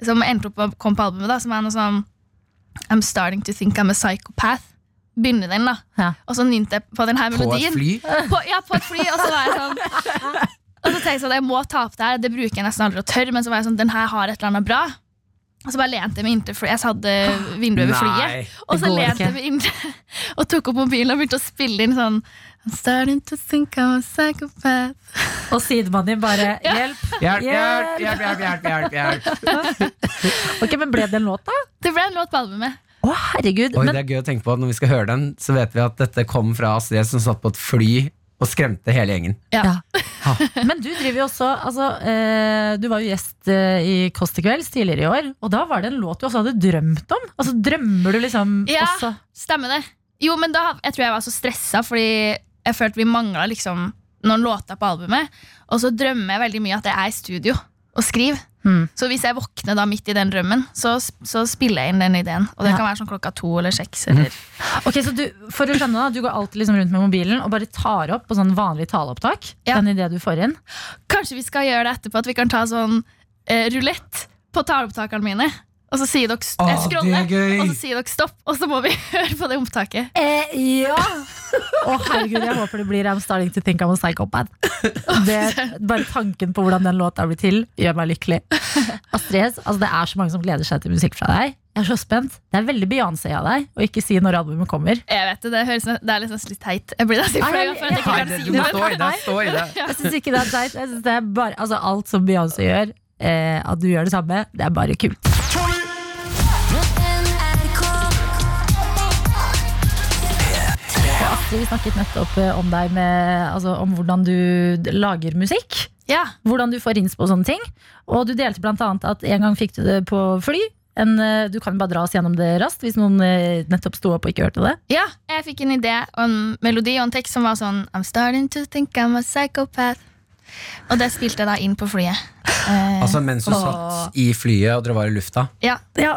Speaker 7: som endte opp å komme på albumet. da Som er noe sånn I'm starting to think I'm a psychopath. Begynner den, da.
Speaker 2: Ja.
Speaker 7: Og så nynte jeg på den her
Speaker 3: På
Speaker 7: melodien
Speaker 3: et fly.
Speaker 7: på, ja, på et fly, og så var jeg sånn Og så tenkte jeg sånn, jeg må ta opp det her, det bruker jeg nesten aldri å tørre, men så var jeg sånn, den her har et eller annet bra. Og så bare lente jeg meg inntil flyet, jeg hadde vinduet ved
Speaker 3: Nei,
Speaker 7: flyet, og
Speaker 2: det
Speaker 7: så
Speaker 2: går
Speaker 7: lente
Speaker 2: ikke.
Speaker 7: jeg meg inntil, og tok opp mobilen og begynte å spille inn sånn, I'm starting to think I'm a psychopath.
Speaker 2: Og sidemannen din bare
Speaker 7: Ja.
Speaker 2: hjelp.
Speaker 3: Hjelp, hjelp, hjelp, hjelp, hjelp, hjelp, hjelp.
Speaker 2: Ok, men ble det en låt da?
Speaker 7: Det ble en låt på albumet.
Speaker 2: Å, herregud.
Speaker 3: Oi,
Speaker 2: men
Speaker 3: det er gøy å tenke på at Når vi skal høre den, så vet vi at dette kom fra Astrid S, som satt på et fly og skremte hele gjengen.
Speaker 2: Men du driver jo også altså, eh, Du var jo gjest eh, i Kåss til kvelds tidligere i år, og da var det en låt du også hadde drømt om. Altså Drømmer du liksom
Speaker 7: Ja.
Speaker 2: også?
Speaker 7: Stemmer det. Jo, men da, jeg tror jeg var så stressa, fordi jeg følte vi mangla liksom, noen låter på albumet. Og så drømmer jeg veldig mye at jeg er i studio og skriver.
Speaker 2: Mm.
Speaker 7: Så hvis jeg våkner da midt i den drømmen, så, så spiller jeg inn den ideen. Og det
Speaker 2: Ja.
Speaker 7: kan være sånn klokka to eller seks.
Speaker 3: Mhm.
Speaker 7: Eller.
Speaker 2: Ok, så du, For å skjønne da, du går alltid liksom rundt med mobilen og bare tar opp på sånn vanlig taleopptak?
Speaker 7: Ja.
Speaker 2: Den idé du får inn?
Speaker 7: Kanskje vi skal gjøre det etterpå, at vi kan ta sånn eh, rulett på taleopptakene mine. Og så sier dere st
Speaker 3: Å,
Speaker 7: jeg scroller,
Speaker 3: det er gøy!
Speaker 7: og så sier dere stopp, og så må vi høre på det opptaket.
Speaker 2: Eh, ja! Å herregud, jeg håper det blir I'm starting to think I'm a psychopath. Det, bare tanken på hvordan den låta blir til, gjør meg lykkelig. Astrid S, altså det er så mange som gleder seg til musikk fra deg. Jeg er så spent. Det er veldig Beyoncé av deg å ikke si når albumet kommer.
Speaker 7: Jeg vet det, det, høres, ne- det er liksom litt teit. Jeg blir nesten
Speaker 2: Nei,
Speaker 7: flau
Speaker 2: jeg-
Speaker 7: for at jeg ikke
Speaker 2: Nei,
Speaker 7: kan si
Speaker 3: du må
Speaker 7: det.
Speaker 3: stå i det. Stå i det.
Speaker 2: Jeg syns ikke det er teit. Jeg synes det er bare, altså alt som Beyoncé gjør, eh, at du gjør det samme, det er bare kult. Astrid, vi snakket nettopp eh, om deg med, altså, om hvordan du d- lager musikk.
Speaker 7: Ja,
Speaker 2: Hvordan du får innspo og sånne ting. Og du delte blant annet at en gang fikk du det på fly. En, eh, du kan bare dra oss gjennom det raskt hvis noen eh, nettopp sto opp og ikke hørte det.
Speaker 7: Ja, jeg fikk en idé og en melodi og en tekst som var sånn I'm starting to think I'm a psychopath. Og det spilte jeg da inn på flyet. Eh,
Speaker 3: Altså Mens du satt i flyet og dere var i lufta.
Speaker 7: ja,
Speaker 2: Ja.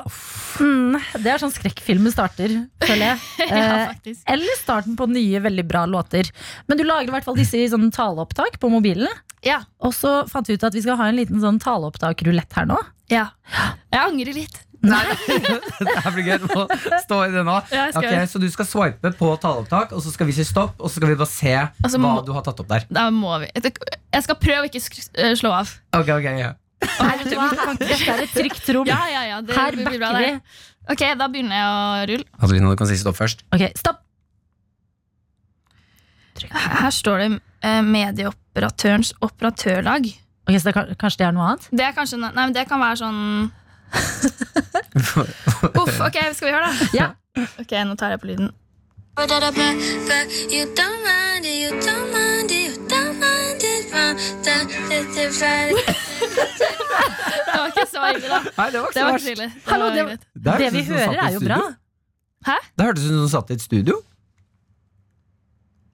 Speaker 2: Mm, det er sånn skrekkfilmen starter, føler jeg.
Speaker 7: ja,
Speaker 2: Eh,
Speaker 7: faktisk.
Speaker 2: Eller starten på nye, veldig bra låter. Men du lager i hvert fall disse i sånn taleopptak på mobilen.
Speaker 7: Ja,
Speaker 2: Og så fant vi ut at vi skal ha en liten sånn taleopptak-rulett her nå.
Speaker 7: ja. Jeg angrer litt.
Speaker 3: Det her blir gøy. Du må stå i det nå.
Speaker 7: Ja, jeg skal.
Speaker 3: Ok, så du skal swipe på taleopptak, og så skal vi si stopp, og så skal vi bare se
Speaker 7: så
Speaker 3: hva
Speaker 7: Altså, må-
Speaker 3: du har tatt opp der.
Speaker 7: Da må vi Jeg skal prøve å ikke skru- eh, slå av.
Speaker 3: Ok, ok, ja.
Speaker 2: Dette er et trygt rom.
Speaker 7: Ja, ja, ja, det
Speaker 2: Her
Speaker 7: blir bra
Speaker 2: backer vi.
Speaker 7: det. Ok, da begynner jeg å rulle.
Speaker 3: Adelina, du Altså, kan si stopp først.
Speaker 2: Ok, stopp.
Speaker 7: Her står det eh, medieoperatørens operatørlag.
Speaker 2: Ok, så det, kan- Kanskje det er noe annet?
Speaker 7: Det er kanskje Nei, men det kan være sånn Uff, ok, skal vi høre, da?
Speaker 2: Ja.
Speaker 7: Ok, nå tar jeg på lyden. Det var ikke så ille, da.
Speaker 3: Nei, det var ikke
Speaker 7: Det
Speaker 3: så
Speaker 7: var ikke så
Speaker 3: verst.
Speaker 7: ille. Det
Speaker 2: Hallo,
Speaker 7: var
Speaker 2: det-
Speaker 7: greit.
Speaker 3: Det
Speaker 2: Det
Speaker 3: hørtes
Speaker 2: vi
Speaker 3: ut som hun
Speaker 2: hører,
Speaker 3: satt i
Speaker 2: er jo
Speaker 3: et
Speaker 2: bra.
Speaker 3: studio.
Speaker 7: Hæ?
Speaker 3: Det hørtes ut som hun satt i et studio.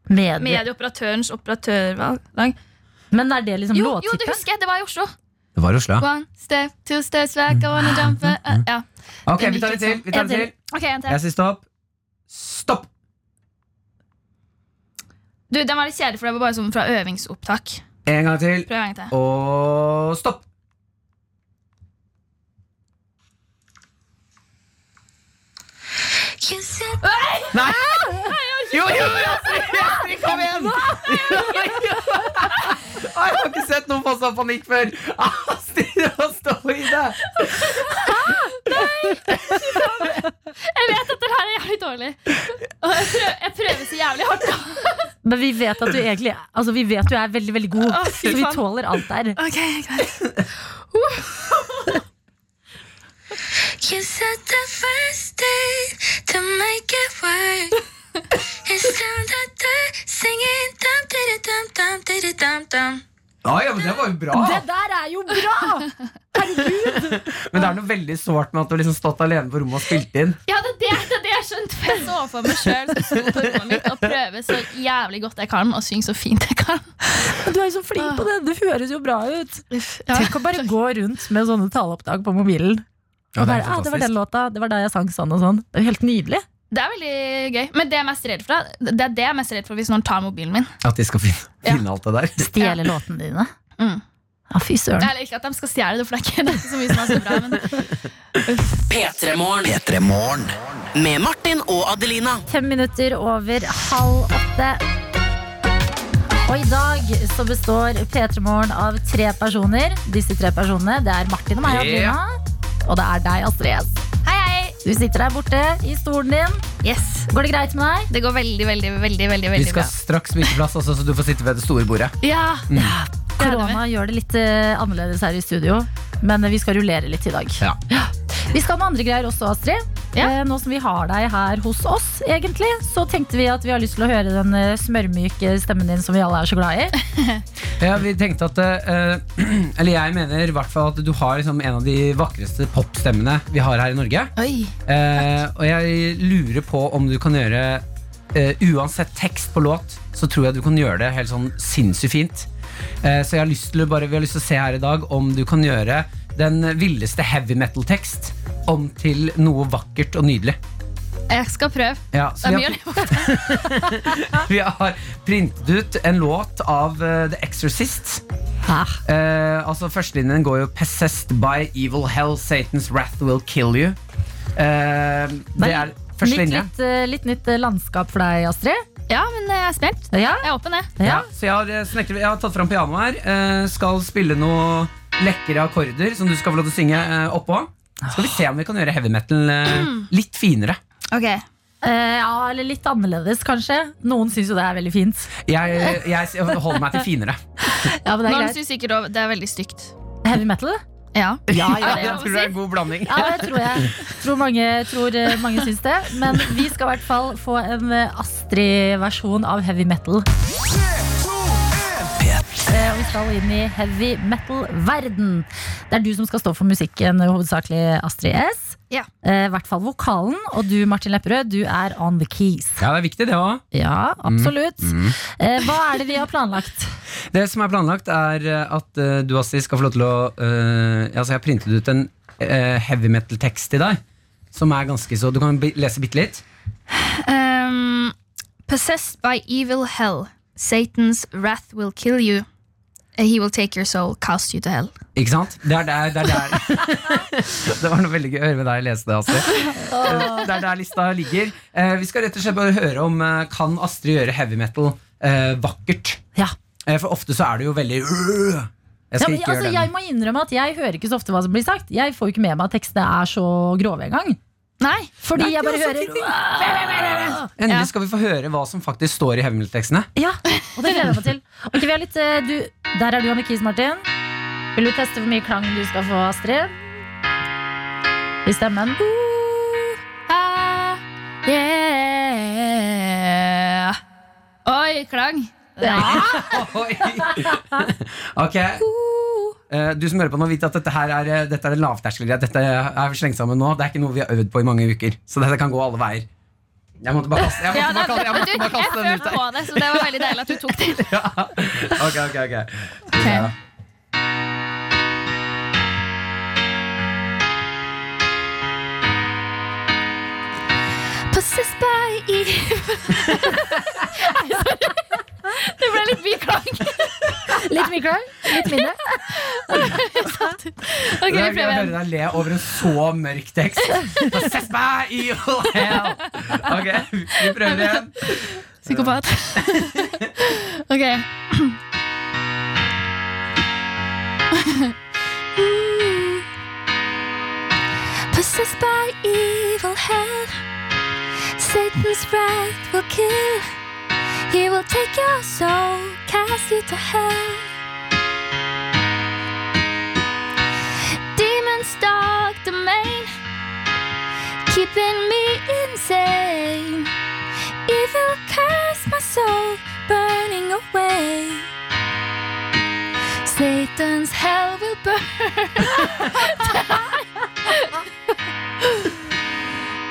Speaker 2: Medie.
Speaker 7: Medieoperatørens operatørlag.
Speaker 2: Men er det liksom
Speaker 7: Jo, jo, det
Speaker 2: låttittelen?
Speaker 7: husker jeg! Det var i Oslo.
Speaker 3: Det var Oslo.
Speaker 7: One step, two steps back, I wanna jump eh, eh, ja.
Speaker 3: Ok, vi tar det til. Vi tar det til.
Speaker 7: Ok, en til.
Speaker 3: Jeg sier stopp. Stopp!
Speaker 7: Du, Den var litt kjedelig, for det var bare som fra øvingsopptak.
Speaker 3: En gang til.
Speaker 7: Prøv en gang til.
Speaker 3: Og stopp! Nei! Jo, jo, jo! Astrid, Kom igjen! Å, Jeg har ikke sett noen få sånn panikk før. Astrid, hva står i det?
Speaker 7: Jeg vet at det her er jævlig dårlig. Og jeg prøver, jeg prøver så jævlig hardt.
Speaker 2: Men vi vet at du egentlig Altså vi vet du er veldig veldig god,
Speaker 7: Å, fy
Speaker 2: så vi
Speaker 7: faen.
Speaker 2: tåler alt der.
Speaker 7: Ok, greit.
Speaker 8: You said the first day to make it work. It's time that they're singing dum diddy dum dum diddy dum dum.
Speaker 3: Ja, ja, men Det var jo bra.
Speaker 2: Det der er jo bra!
Speaker 3: Men det er noe veldig sårt med at du har liksom stått alene på rommet og spilt inn.
Speaker 7: Ja, det er det, det, er det jeg skjønte. for Jeg så for meg sjøl og prøve så jævlig godt jeg kan, og synge så fint jeg kan.
Speaker 2: Du er jo så flink på det. Det høres jo bra ut.
Speaker 7: Uff, ja.
Speaker 2: Tenk å bare gå rundt med sånne taleopptak på mobilen. Og bare, ah, det var den låta, det var da jeg sang sånn og sånn. Det er jo helt nydelig.
Speaker 7: Det er veldig gøy. Men det jeg er mest redd for, da, det er det jeg er mest redd for hvis noen tar mobilen min.
Speaker 3: At de skal finne, finne alt det der.
Speaker 2: Stjele låtene dine.
Speaker 7: Mm.
Speaker 2: Ja, fy søren.
Speaker 7: Eller ikke at de skal stjele det, for det er ikke det er ikke så mye som er så bra. Men
Speaker 6: P3-morgen.
Speaker 5: P3 Morgen.
Speaker 6: Med Martin og Adelina.
Speaker 2: Fem minutter over halv åtte. Og i dag så består P3 Morgen av tre personer. Disse tre personene, det er Martin og meg,
Speaker 3: Ja.
Speaker 2: Adelina. Og det er deg, Astrid S.
Speaker 7: hei, hei!
Speaker 2: Du sitter der borte i stolen din.
Speaker 7: Yes.
Speaker 2: Går det greit med deg?
Speaker 7: Det går veldig, veldig, veldig veldig,
Speaker 3: Vi
Speaker 7: veldig
Speaker 3: skal
Speaker 7: bra.
Speaker 3: straks bytte plass, altså, så du får sitte ved det store bordet.
Speaker 7: Ja, det er det
Speaker 2: Korona gjør det litt eh, annerledes her i studio, men vi skal eh, rullere litt i dag.
Speaker 3: Ja.
Speaker 2: Vi skal med andre greier også, Astrid.
Speaker 7: Ja.
Speaker 2: Eh, Nå som vi har deg her hos oss, egentlig, så tenkte vi at vi har lyst til å høre den eh, smørmyke stemmen din som vi alle er så glad i.
Speaker 3: Ja, vi tenkte at eh, Eller jeg mener i hvert fall at du har liksom en av de vakreste popstemmene vi har her i Norge.
Speaker 7: Oi.
Speaker 3: Eh, og jeg lurer på om du kan gjøre eh, Uansett tekst på låt, så tror jeg du kan gjøre det helt sånn sinnssykt fint. Eh, så jeg har lyst til å bare, vi har lyst til å se her i dag om du kan gjøre den villeste heavy metal-tekst om til noe vakkert og nydelig.
Speaker 7: Jeg skal prøve.
Speaker 3: Ja,
Speaker 7: Det
Speaker 3: så
Speaker 7: er
Speaker 3: vi
Speaker 7: mye å
Speaker 3: har,
Speaker 7: leve opp til.
Speaker 3: vi har printet ut en låt av eh, The Exorcist.
Speaker 2: Ah,
Speaker 3: Eh, altså Førstelinjen går jo 'Possessed by evil hell, Satan's wrath will kill you'. Eh, det er første
Speaker 2: nytt,
Speaker 3: linje.
Speaker 2: litt, eh, litt nytt eh, landskap for deg, Astrid.
Speaker 7: Ja, men eh, jeg er spent.
Speaker 2: Ja.
Speaker 7: Jeg er åpen, jeg.
Speaker 3: Ja,
Speaker 2: Ja.
Speaker 3: så jeg har, eh, snekret, jeg har tatt fram pianoet her. eh, skal spille noe lekre akkorder som du skal få lov til å synge eh, oppå. Skal vi se om vi kan gjøre heavy metal eh, litt finere.
Speaker 7: Ok.
Speaker 2: Eh, ja, eller litt annerledes, kanskje. Noen syns jo det er veldig fint.
Speaker 3: Jeg, jeg holder meg til finere.
Speaker 2: Ja, men det er
Speaker 7: Noen
Speaker 2: greit.
Speaker 7: syns sikkert også- det er veldig stygt.
Speaker 2: Heavy metal?
Speaker 7: Ja.
Speaker 2: ja,
Speaker 7: det er
Speaker 3: jeg
Speaker 7: lov å
Speaker 3: tror det er en god blanding.
Speaker 2: Ja, det tror jeg. Tror mange, tror eh, mange syns det. Men vi skal i hvert fall få en eh, Astrid-versjon av heavy metal. Eh, Og vi skal inn i heavy metal-verden. Det er du som skal stå for musikken, hovedsakelig Astrid S.
Speaker 7: Ja.
Speaker 2: Eh, I hvert fall vokalen. Og du, Martin Lepperød, du er on the keys.
Speaker 3: Ja, det er viktig, det òg.
Speaker 2: Ja, absolutt.
Speaker 3: Mm,
Speaker 2: Eh, Hva er det vi har planlagt?
Speaker 3: Det som er planlagt, er eh, at eh, du, Astrid, skal få lov til å eh, Altså, jeg har printet ut en eh, heavy metal-tekst til deg. Som er ganske så Du kan bi- lese bitte litt.
Speaker 7: Um, possessed by evil hell, Satan's wrath will kill you. and He will take your soul, cast you to hell.
Speaker 3: Ikke sant? Det er der, det er der. det var noe veldig gøy å høre med deg lese det, Astrid. Det er der lista ligger. Eh, Vi skal rett og slett bare høre om eh, Kan Astrid gjøre heavy metal eh, vakkert.
Speaker 2: Ja.
Speaker 3: Eh, For ofte så er det jo veldig øh.
Speaker 2: Ja,
Speaker 3: Jeg skal
Speaker 2: men,
Speaker 3: ikke
Speaker 2: altså,
Speaker 3: gjøre
Speaker 2: jeg
Speaker 3: den.
Speaker 2: må innrømme at jeg hører ikke så ofte hva som blir sagt. Jeg får jo ikke med meg at tekstene er så grove engang.
Speaker 7: Nei!
Speaker 2: Fordi jeg bare
Speaker 3: det er så
Speaker 2: hører
Speaker 7: Ja.
Speaker 3: Endelig skal vi få høre hva som faktisk står i heavy metal-tekstene.
Speaker 2: Ja, og det gleder jeg meg til. Ok, vi har litt eh, du, Der er du, Anne Kis Martin. Vil du teste hvor mye klang du skal få, Astrid? I stemmen.
Speaker 7: Ah, yeah. Oi, klang.
Speaker 3: Oi. ok. Eh, Du som hører på nå, vet at dette her er, eh, dette er en lavterskelgreie. Dette er slengt sammen nå. Det er ikke noe vi har øvd på i mange uker. Så dette kan gå alle veier. Jeg måtte bare kaste, jeg
Speaker 7: Ja,
Speaker 3: måtte
Speaker 7: da,
Speaker 3: bare kaste, jeg
Speaker 7: men du,
Speaker 3: måtte
Speaker 7: jeg
Speaker 3: bare kaste den ut
Speaker 7: følte
Speaker 3: der.
Speaker 7: på det, så det var veldig deilig at du tok det.
Speaker 3: Ja. Ok, ok, ok. Skal vi se, da.
Speaker 7: Possessed by evil Nei, sorry. Det ble litt mye klang.
Speaker 2: Litt mye klang, litt mindre.
Speaker 7: Ok,
Speaker 3: Det
Speaker 7: vi
Speaker 3: er gøy å
Speaker 7: prøver
Speaker 3: høre
Speaker 7: igjen.
Speaker 3: deg le over en så mørk tekst. Possess by evil hell. Ok, vi prøver igjen.
Speaker 7: Psykopat. ok.
Speaker 8: Possessed by evil hell, Satan's wrath will kill. He will take your soul, cast you to hell. Demons dark domain, keeping me insane. Evil curse my soul, burning away. Satan's hell will burn.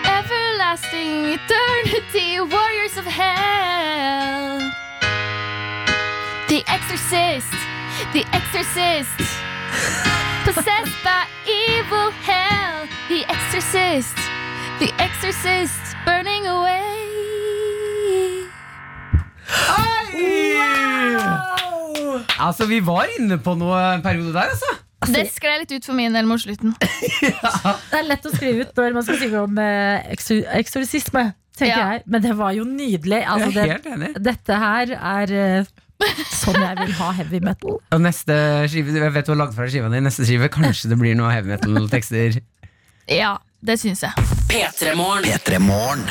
Speaker 8: Everlasting eternity, warriors of hell. The exorcist, the exorcist. Possessed by evil hell, the exorcist, the exorcist, burning away.
Speaker 3: Altså, vi var inne på noe en periode der, altså.
Speaker 7: Det skled litt ut for min del mot slutten.
Speaker 2: Det er lett å skrive ut når man skal synge om eh, exor- eksorsisme, tenker
Speaker 7: Ja.
Speaker 2: jeg. Men det var jo nydelig. Altså,
Speaker 3: Jeg er
Speaker 2: det,
Speaker 3: helt enig.
Speaker 2: dette her er eh, sånn jeg vil ha heavy metal.
Speaker 3: Og neste skive, jeg vet du har lagd fra deg skiva di, neste skive, kanskje det blir noe heavy metal-tekster.
Speaker 7: Ja, det syns jeg.
Speaker 6: P3 Morgen
Speaker 5: P3 Morgen.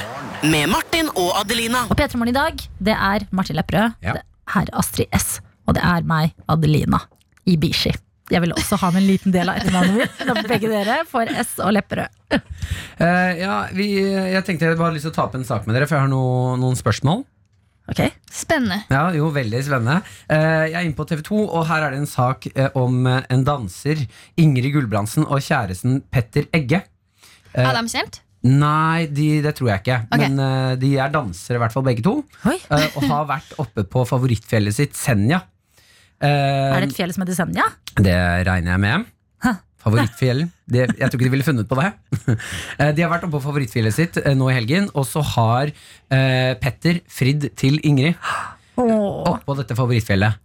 Speaker 6: med Martin og Adelina.
Speaker 2: Og P3 Morgen i dag, det er Martin Lepperød,
Speaker 3: Ja.
Speaker 2: det er Astrid S, og det er meg, Adelina Ibishi. Jeg vil også ha med en liten del av etternavnet mitt. når Begge dere får S og Lepperød.
Speaker 3: Eh, ja, vi, jeg tenkte jeg bare hadde lyst til å ta opp en sak med dere, for jeg har no, noen spørsmål.
Speaker 2: Ok?
Speaker 7: Spennende.
Speaker 3: Ja, jo, veldig spennende. Eh, jeg er inne på TV 2, og her er det en sak eh, om eh, en danser. Ingrid Gulbrandsen og kjæresten Petter Egge.
Speaker 7: Er de kjent?
Speaker 3: Nei, de, det tror jeg ikke.
Speaker 7: Ok.
Speaker 3: Men eh, de er dansere, i hvert fall begge to.
Speaker 2: Oi.
Speaker 3: eh, og har vært oppe på favorittfjellet sitt, Senja. Eh,
Speaker 2: Er det et fjell som heter Senja?
Speaker 3: det regner jeg med. Favorittfjell. Det, jeg tror ikke de ville funnet på det. Eh, de har vært oppe på favorittfjellet sitt eh, nå i helgen, og så har eh, Petter fridd til Ingrid
Speaker 2: Åh.
Speaker 3: oppå dette favorittfjellet.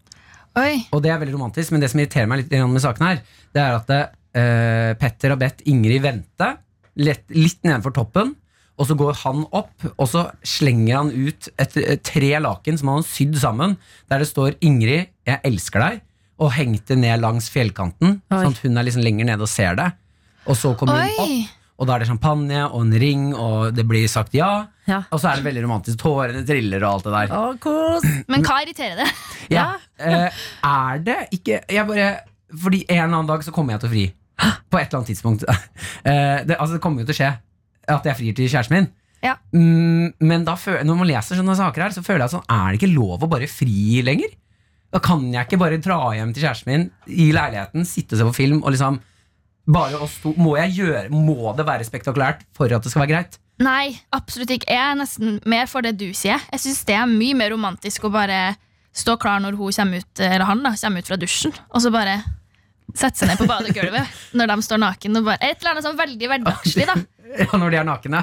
Speaker 7: Oi.
Speaker 3: Og det er veldig romantisk, men det som irriterer meg litt grann med saken her, det er at eh, Petter har bedt Ingrid vente lett, litt nedenfor toppen, og så går han opp, og så slenger han ut et, et tre laken som han har sydd sammen, der det står 'Ingrid, jeg elsker deg', og hengte ned langs fjellkanten,
Speaker 2: Oi.
Speaker 3: sånn at hun er liksom lenger nede og ser det. Og så kommer hun
Speaker 7: Oi.
Speaker 3: opp, og da er det champagne og en ring, og det blir sagt ja.
Speaker 2: Ja.
Speaker 3: Og så er det veldig romantisk. Tårene triller og alt det der.
Speaker 2: Å, kos.
Speaker 7: Men hva irriterer det?
Speaker 3: Ja. Eh, er det ikke Jeg bare Fordi en eller annen dag så kommer jeg til å fri. På et eller annet tidspunkt. Eh, det, altså, det kommer jo til å skje at jeg frir til kjæresten min.
Speaker 7: Ja.
Speaker 3: Mm, men da føl- når man leser sånne saker her, så føler jeg sånn Er det ikke lov å bare fri lenger? Da kan jeg ikke bare dra hjem til kjæresten min i leiligheten, sitte og se på film og liksom bare oss to, må, jeg gjøre, må det være spektakulært for at det skal være greit?
Speaker 7: Nei, absolutt ikke. Jeg er nesten mer for det du sier. Jeg syns det er mye mer romantisk å bare stå klar når hun kommer ut, eller han da, kommer ut fra dusjen, og så bare sette seg ned på badegulvet når de står naken. Og bare, et eller annet sånn veldig hverdagslig, da.
Speaker 3: Ja, Når de er nakne.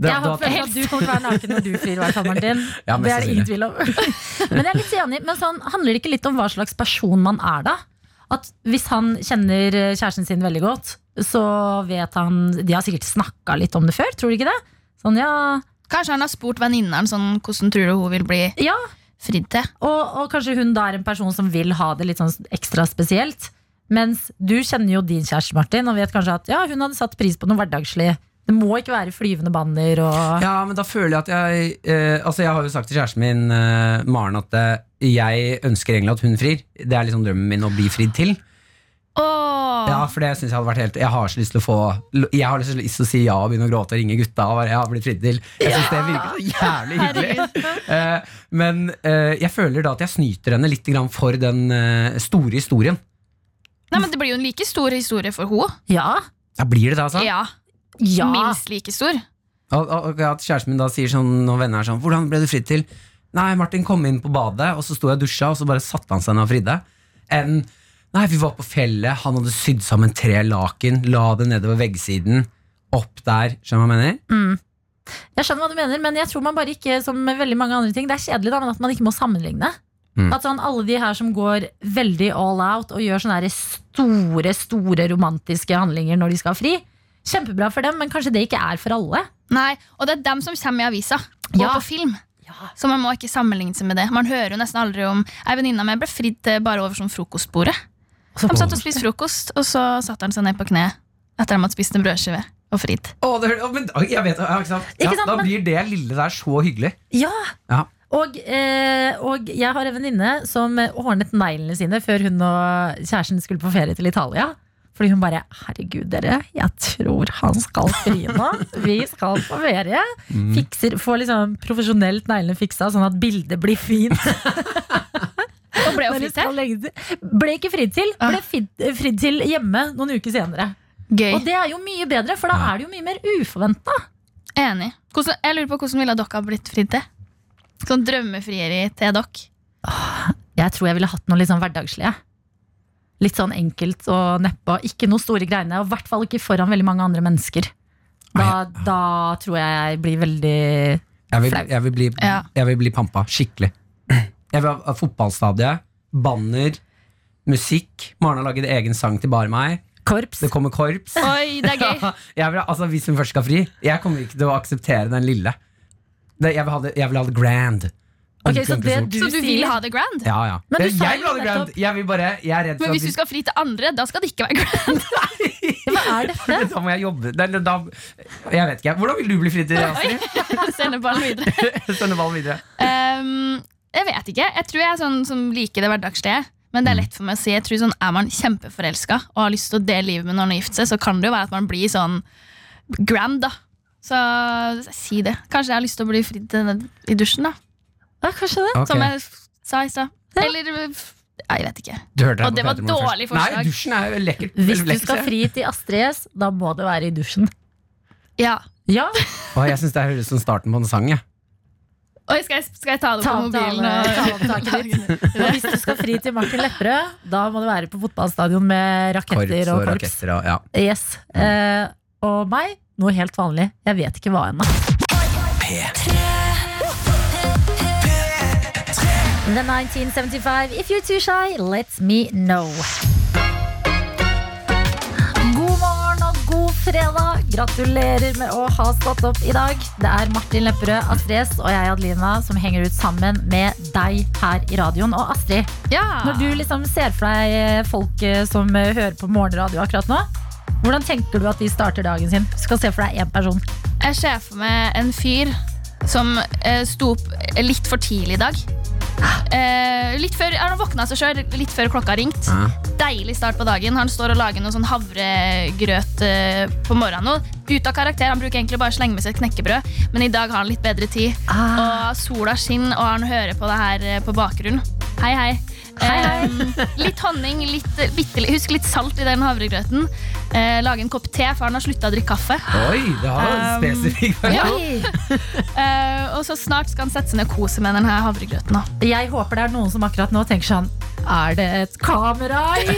Speaker 3: Da-
Speaker 2: Jeg
Speaker 3: da-
Speaker 2: håper at du kommer til å være naken når du frir, i hvert fall, Martin.
Speaker 3: Ja,
Speaker 2: det
Speaker 3: mest
Speaker 2: er det ingen tvil om. Men jeg er litt enig, men sånn, handler det ikke litt om hva slags person man er, da? At hvis han kjenner eh, kjæresten sin veldig godt, så vet han De har sikkert snakka litt om det før, tror du ikke det? Sånn, ja,
Speaker 7: Kanskje han har spurt venninneren sånn, hvordan tror du hun vil bli
Speaker 2: ja.
Speaker 7: fridd til.
Speaker 2: Og, og kanskje hun da er en person som vil ha det litt sånn ekstra spesielt. Mens du kjenner jo din kjæreste, Martin, og vet kanskje at ja, hun hadde satt pris på noe hverdagslig. Det må ikke være flyvende banner og
Speaker 3: Ja, men da føler jeg at jeg eh, Altså, jeg har jo sagt til kjæresten min, eh, Maren, at eh, jeg ønsker egentlig at hun frir. Det er liksom drømmen min å bli fridd til.
Speaker 7: Åh,
Speaker 3: Ja, for det synes Jeg hadde vært helt Jeg har så lyst til å få Jeg har så lyst til å si ja og begynne å gråte og ringe gutta. Og bare, jeg har blitt fridd til Jeg synes det virker så jævlig hyggelig.
Speaker 7: herregud.
Speaker 3: Eh, men eh, jeg føler da at jeg snyter henne litt grann for den eh, store historien.
Speaker 7: Nei, men Det blir jo en like stor historie for henne.
Speaker 2: Ja!
Speaker 3: Ja, blir det det, altså?
Speaker 7: Ja,
Speaker 2: ja.
Speaker 7: Minst like stor.
Speaker 3: Og, og, og at kjæresten min da sier sånn Når venner er sånn Hvordan ble du fridd til? Nei, Martin kom inn på badet Og så sto jeg og dusja Og så bare satte han seg ned og fridde Enn Nei, vi var på fjellet Han hadde sydd sammen tre laken La det nedover veggsiden Opp der Skjønner du hva jeg mener?
Speaker 2: Jeg skjønner hva du mener, men jeg tror man bare ikke som med veldig mange andre ting, det er kjedelig da, men at man ikke må sammenligne.
Speaker 3: Mm.
Speaker 2: At sånn, Alle de her som går veldig all out og gjør sånne her store store romantiske handlinger når de skal ha fri. Kjempebra for dem, men kanskje det ikke er for alle.
Speaker 7: Nei, Og det er dem som kommer i avisa og
Speaker 2: Ja.
Speaker 7: på film. Så man må ikke sammenligne seg med det. Man hører jo nesten aldri om Ei venninne av meg ble fridd til bare over sånn frokostbordet. De
Speaker 2: Sånn,
Speaker 7: satt og spiste frokost, og så satte han seg ned på kne etter at de hadde spist en brødskive og fridd.
Speaker 3: Å, det, å, men, å, jeg vet ja, ikke sant? Ja,
Speaker 2: Ikke sant,
Speaker 3: Da
Speaker 2: men-
Speaker 3: blir det lille der så hyggelig
Speaker 2: Ja.
Speaker 3: Ja.
Speaker 2: Og, eh, og jeg har en venninne som ordnet neglene sine før hun og kjæresten skulle på ferie til Italia. Fordi hun bare 'herregud, dere, jeg tror han skal fri nå'. Vi skal på ferie. Fikser, får liksom profesjonelt neglene fiksa, sånn at bildet blir fint.
Speaker 7: Og ble jo
Speaker 2: når de
Speaker 7: fridd
Speaker 2: skal
Speaker 7: til.
Speaker 2: legge det- Ble ikke fridd til. Ble fridd, fridd til hjemme noen uker senere.
Speaker 7: Gøy.
Speaker 2: Og det er jo mye bedre, for da er det jo mye mer uforventa.
Speaker 7: Enig. Hvordan, jeg lurer på hvordan ville dere ha blitt fridd til? Sånn drømmefrieri til dere.
Speaker 2: Jeg tror jeg ville hatt noe litt sånn hverdagslig. jeg. Litt sånn enkelt og neppe. og Ikke noe store greiene, og i hvert fall ikke foran veldig mange andre mennesker. Da, da tror jeg jeg blir veldig
Speaker 3: jeg vil,
Speaker 2: Flau.
Speaker 3: jeg, vil bli,
Speaker 7: Ja.
Speaker 3: jeg vil bli pampa skikkelig Jeg vil ha- ha fotballstadiet Banner Musikk Maren har laget egen sang til bare meg
Speaker 2: korps.
Speaker 3: Det kommer korps
Speaker 7: Oi, det er gøy.
Speaker 3: jeg vil, altså, hvis hun først skal fri, jeg kommer ikke til å akseptere den lille. Det, jeg, vil ha det, jeg vil ha det grand.
Speaker 2: Ok, så
Speaker 3: Ordentlig
Speaker 2: det
Speaker 3: stort.
Speaker 2: du,
Speaker 7: Så du vil
Speaker 2: sier
Speaker 7: ha det grand?
Speaker 3: Ja, ja.
Speaker 2: Men du
Speaker 3: Det-
Speaker 2: sa
Speaker 3: jeg
Speaker 2: jo
Speaker 3: vil ha det grand.
Speaker 2: nettopp-
Speaker 3: Jeg, vil bare, jeg er redd for
Speaker 7: Men
Speaker 3: at
Speaker 7: hvis du skal fri til andre, da skal det ikke være grand.
Speaker 2: Hva er dette?
Speaker 3: Da må jeg jobbe. Da, da, jeg vet ikke. Hvordan vil du bli fridd til Astrid?
Speaker 7: Sende ballen videre.
Speaker 3: Sende ballen videre.
Speaker 7: Ehm, jeg vet ikke. Jeg tror jeg er sånn som liker det hverdagslige. Men det
Speaker 2: Mm.
Speaker 7: er lett for meg å si. Jeg tror sånn, Er man kjempeforelska og har lyst til å dele livet med noen og gifte seg, så kan det jo være at man blir sånn grand, da. Så si det. Kanskje jeg har lyst til å bli fridd til den- i dusjen, da.
Speaker 2: Ja, kanskje det.
Speaker 3: Ok.
Speaker 7: Som jeg f- sa i stad. Eller f- Nei, jeg vet ikke.
Speaker 3: Du hørte
Speaker 7: Og
Speaker 3: på
Speaker 7: det var
Speaker 3: Petermorgen først.
Speaker 7: dårlig forslag.
Speaker 3: Nei, dusjen er jo lekkert.
Speaker 2: Hvis du
Speaker 3: lekkert,
Speaker 2: skal
Speaker 3: sier jeg.
Speaker 2: fri til Astrid S, da må det være i dusjen.
Speaker 7: Ja.
Speaker 2: Ja,
Speaker 3: Å, jeg syns det høres ut som starten på en sang. Jeg.
Speaker 7: Oi, skal jeg, skal jeg ta det opp
Speaker 2: ta
Speaker 7: på
Speaker 2: opp
Speaker 7: mobilen?
Speaker 2: tale-
Speaker 7: Og...
Speaker 2: ta opp taket ditt. Og hvis du skal fri til Martin Lepperød, da må du være på fotballstadion med raketter og korps.
Speaker 3: raketter og ja.
Speaker 2: Yes. Eh, og meg, noe helt vanlig. Jeg vet ikke hva ennå. The 1975, if you're too shy, let me know. God morgen og god fredag. Gratulerer med å ha stått opp i dag. Det er Martin Lepperød, Astrid S og jeg, Adelina, som henger ut sammen med deg her i radioen. Og Astrid,
Speaker 7: Ja.
Speaker 2: når du liksom ser for deg eh, folk eh, som eh, hører på morgenradio akkurat nå, hvordan tenker du at de starter dagen sin? Du skal se for deg én person.
Speaker 7: Jeg ser for meg en fyr som eh, sto opp litt for tidlig i dag. Eh, litt før, han våkna seg selv litt før klokka ringte.
Speaker 3: Ja.
Speaker 7: Deilig start på dagen. Han står og lager noe sånn havregrøt eh, på morgenen. Og ut av karakter, Han bruker egentlig bare å slenge med seg et knekkebrød, men i dag har han litt bedre tid. Og sola skinner, og han hører på det her eh, på bakgrunnen. Hei, hei. Eh, litt honning, litt, eh, bitte, litt- husk litt salt i den havregrøten. Eh, lage en kopp te, for han har slutta å drikke kaffe.
Speaker 3: Oi, det var
Speaker 7: Um,
Speaker 3: spesifikt.
Speaker 2: Oi.
Speaker 7: Eh, og så snart skal han sette seg ned og kose med denne havregrøten. da.
Speaker 2: Jeg håper det er noen som akkurat nå tenker sånn Er det et kamera i?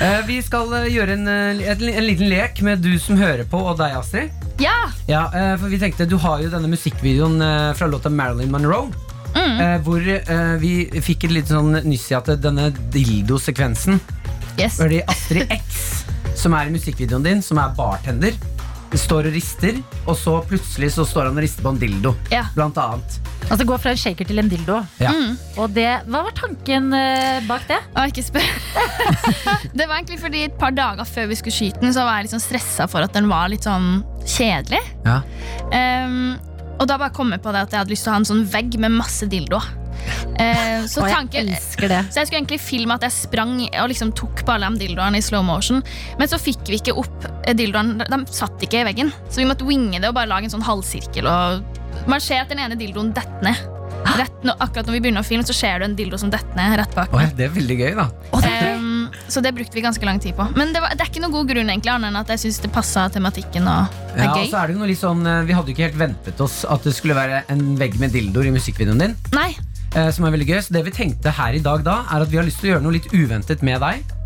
Speaker 3: Eh, vi skal eh, gjøre en, eh, et, en liten lek med du som hører på, og deg, Astrid.
Speaker 7: Ja!
Speaker 3: Ja, eh, for vi tenkte Du har jo denne musikkvideoen eh, fra låta Marilyn Monroe.
Speaker 7: Mm.
Speaker 3: eh, Hvor eh, vi fikk et lite sånn nyss i at denne dildosekvensen
Speaker 7: Yes.
Speaker 3: Hvor det er Astrid X, som er i musikkvideoen din, som er bartender, står og rister, og så plutselig så står han og rister på en dildo.
Speaker 7: Ja.
Speaker 3: Blant annet.
Speaker 2: Altså gå fra en shaker til en dildo. Mm.
Speaker 3: Ja.
Speaker 2: Og det, hva var tanken eh, bak det?
Speaker 7: Å, ikke spør. det var egentlig fordi et par dager før vi skulle skyte den, så var jeg litt sånn stressa for at den var litt sånn kjedelig.
Speaker 3: Ja.
Speaker 7: Ehm, og da bare kom jeg på det at jeg hadde lyst til å ha en sånn vegg med masse dildoer. Ehm, så
Speaker 2: Å, jeg
Speaker 7: tanken
Speaker 2: elsker det.
Speaker 7: Så jeg skulle egentlig filme at jeg sprang og liksom tok på alle de dildoene i slow motion. Men så fikk vi ikke opp eh, dildoene. De satt ikke i veggen. Så vi måtte winge det og bare lage en sånn halvsirkel. Og man ser at den ene dildoen detter ned. Rett nå, akkurat når vi begynner å filme, så ser du en dildo som detter ned rett bak.
Speaker 3: Oi, det er veldig gøy, da.
Speaker 7: Ehm, så det brukte vi ganske lang tid på. Men det, var, det er ikke noen god grunn, egentlig, annet enn at jeg syns det passa tematikken og er
Speaker 3: Ja, og
Speaker 7: gøy.
Speaker 3: så er det jo noe litt sånn, eh, Vi hadde jo ikke helt ventet oss at det skulle være en vegg med dildoer i musikkvideoen din.
Speaker 7: Nei.
Speaker 3: eh, Som er veldig gøy Så det vi tenkte her i dag, da er at vi har lyst til å gjøre noe litt uventet med deg.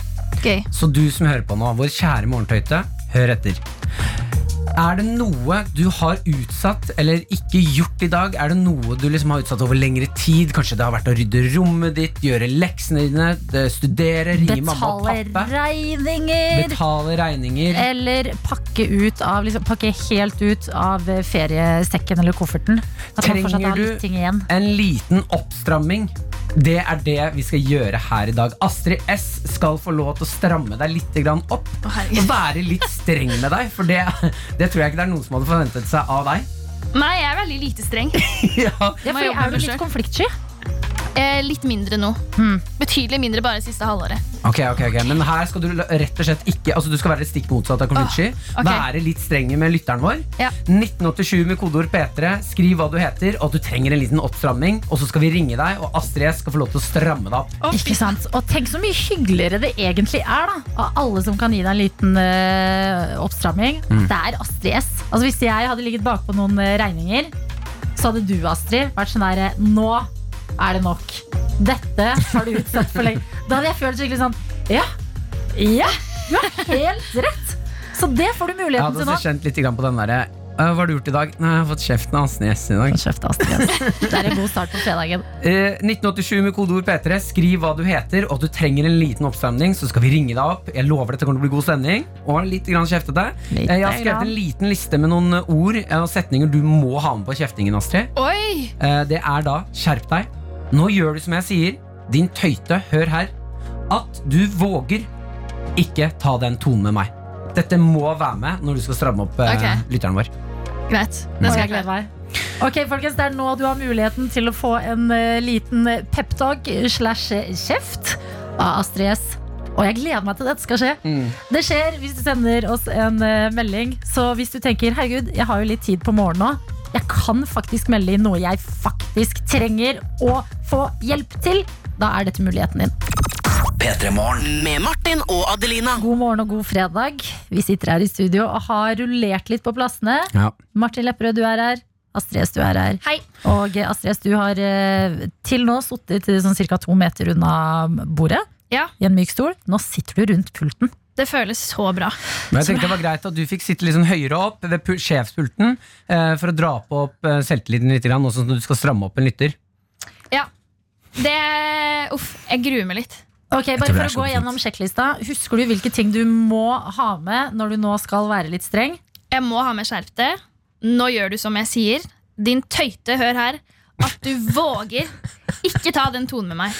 Speaker 7: Gøy.
Speaker 3: Så du som hører på nå, vår kjære morgentøyte, hør etter. Er det noe du har utsatt eller ikke gjort i dag? Er det noe du liksom har utsatt over lengre tid? Kanskje det har vært å rydde rommet ditt, gjøre leksene dine, det- studere, ringe mamma og
Speaker 2: Betale Eh,
Speaker 3: pappa?
Speaker 2: regninger.
Speaker 3: Betale regninger.
Speaker 2: Eller pakke, ut av, liksom, pakke helt ut av eh, feriesekken eller kofferten. At man fortsatt
Speaker 3: Trenger
Speaker 2: har
Speaker 3: du-
Speaker 2: litt ting igjen.
Speaker 3: En liten oppstramming. Det er det vi skal gjøre her i dag. Astrid S skal få lov til å stramme deg litt grann opp.
Speaker 7: Å,
Speaker 3: Og
Speaker 7: herregud.
Speaker 3: være litt streng med deg, for det, det tror jeg ikke det er noen som hadde forventet seg av deg.
Speaker 7: Nei, jeg er veldig lite streng.
Speaker 3: Ja,
Speaker 2: Ja,
Speaker 7: Må
Speaker 2: fordi
Speaker 7: jobbe med
Speaker 2: er du
Speaker 7: meg
Speaker 2: litt
Speaker 7: selv.
Speaker 2: konfliktsky?
Speaker 7: Eh, litt mindre nå.
Speaker 2: Hmm.
Speaker 7: Betydelig mindre bare det siste halvåret.
Speaker 3: Ok, ok, ok Men her skal du la- rett og slett ikke Altså du skal være stikk motsatt av konfliktsky.
Speaker 7: ok.
Speaker 3: Være litt streng med lytteren vår.
Speaker 7: Ja.
Speaker 3: 1987 med kodeord P3. Skriv hva du heter, og at du trenger en liten oppstramming. Og så skal vi ringe deg, og Astrid S skal få lov til å stramme deg opp.
Speaker 2: Ikke sant? Og tenk så mye hyggeligere det egentlig er da av alle som kan gi deg en liten eh, oppstramming. At Det er Astrid S. Altså, hvis jeg hadde ligget bakpå noen eh, regninger, så hadde du, Astrid, vært sånn der eh, Nå er det nok. Dette har du utsatt for lenge. Da hadde jeg følt skikkelig sånn Ja, ja, du har helt rett. Så det får du
Speaker 3: Jeg
Speaker 2: muligheten
Speaker 3: hadde
Speaker 2: til nå.
Speaker 3: også kjent litt grann på den derre «Øh, Hva har du gjort i dag? Nei, jeg har fått kjeften av Astrid S i dag.
Speaker 2: Hold kjeft, Astrid S. Det er en god start på fredagen.
Speaker 3: Eh, 1987 med kodeord P3. Skriv hva du heter, og at du trenger en liten oppstemning. Så skal vi ringe deg opp. Jeg lover dette kommer til å bli god stemning. Og litt grann kjeftete.
Speaker 2: Litt
Speaker 3: Eh, Jeg har
Speaker 2: grann.
Speaker 3: skrevet en liten liste med noen eh, ord eh, og setninger du må ha med på kjeftingen, Astrid.
Speaker 7: Oi!
Speaker 3: Eh, Det er da skjerp deg. Nå gjør du som jeg sier. Din tøyte, hør her. At du våger. Ikke ta den tonen med meg. Dette må være med når du skal stramme opp eh,
Speaker 7: Ok.
Speaker 3: lytteren vår.
Speaker 7: Greit. Det skal jeg
Speaker 2: glede
Speaker 7: klare.
Speaker 2: meg. Ok, folkens, Det er nå du har muligheten til å få en eh, liten peptalk eh, slash kjeft av Astrid S. Og jeg gleder meg til dette skal skje. Det skjer hvis du sender oss en eh, melding. Så hvis du tenker herregud, jeg har jo litt tid på morgenen nå. Jeg kan faktisk melde inn noe jeg faktisk trenger å få hjelp til. Da er dette muligheten din.
Speaker 5: P3 Morgen.
Speaker 6: Med Martin og Adelina.
Speaker 2: God morgen og god fredag. Vi sitter her i studio og har rullert litt på plassene.
Speaker 3: Ja.
Speaker 2: Martin Lepperød, du er her. Astrid S, du er her.
Speaker 7: Hei.
Speaker 2: Og eh, Astrid S, du har eh, til nå sittet sånn ca. to meter unna bordet
Speaker 7: Ja.
Speaker 2: i en myk stol. Nå sitter du rundt pulten.
Speaker 7: Det føles så bra.
Speaker 3: Men jeg tenkte det var greit at du fikk sitte litt sånn høyere opp ved pu- sjefspulten eh, for å dra på opp eh, selvtilliten litt, grann, også sånn at du skal stramme opp en lytter.
Speaker 7: Ja. Det Uff, jeg gruer meg litt.
Speaker 2: Ok,
Speaker 5: tror
Speaker 2: bare
Speaker 5: det
Speaker 2: for
Speaker 5: er
Speaker 2: å
Speaker 5: så
Speaker 2: gå
Speaker 5: fint.
Speaker 2: gjennom sjekklista Husker du hvilke ting du må ha med når du nå skal være litt streng?
Speaker 7: Jeg må ha med skjerp deg. Nå gjør du som jeg sier. Din tøyte, hør her. At du våger. Ikke ta den tonen med meg.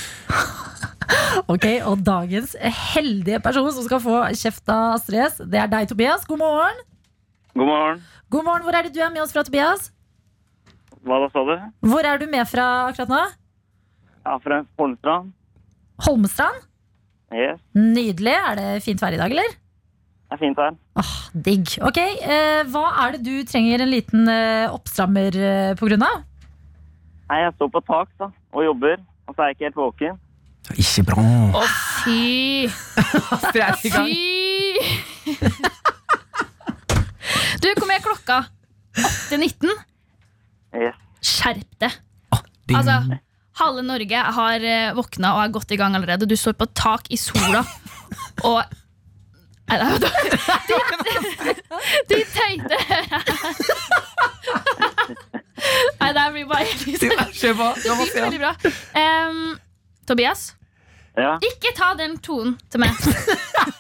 Speaker 2: Ok, Og dagens heldige person som skal få kjeft av Astrid S, det er deg, Tobias. God morgen.
Speaker 9: God morgen.
Speaker 2: God morgen, Hvor er det du er med oss fra, Tobias?
Speaker 9: Hva da, sa du?
Speaker 2: Hvor er du med fra akkurat nå?
Speaker 9: Jeg er fra Holmestrand.
Speaker 2: Holmestrand?
Speaker 9: Yes,
Speaker 2: Nydelig. Er det fint vær i dag, eller?
Speaker 9: det er fint her.
Speaker 2: Åh, digg. Ok, eh, Hva er det du trenger en liten eh, oppstrammer eh, på grunn av?
Speaker 9: Nei, jeg står på tak da, og jobber, og så er jeg ikke helt våken.
Speaker 3: Ikke bra.
Speaker 7: Fy. Fy. Du, kom her klokka 8.19.
Speaker 9: Yes.
Speaker 7: Skjerp deg. Altså, halve Norge har eh, våkna og er godt i gang allerede. Du står på et tak i sola og Nei, det er jo dårlig. De, de tøyte Nei, det her blir bare helt
Speaker 3: Kjør på. Nå må vi se.
Speaker 7: Veldig bra. Em, Tobias,
Speaker 9: Ja,
Speaker 7: ikke ta den tonen til meg.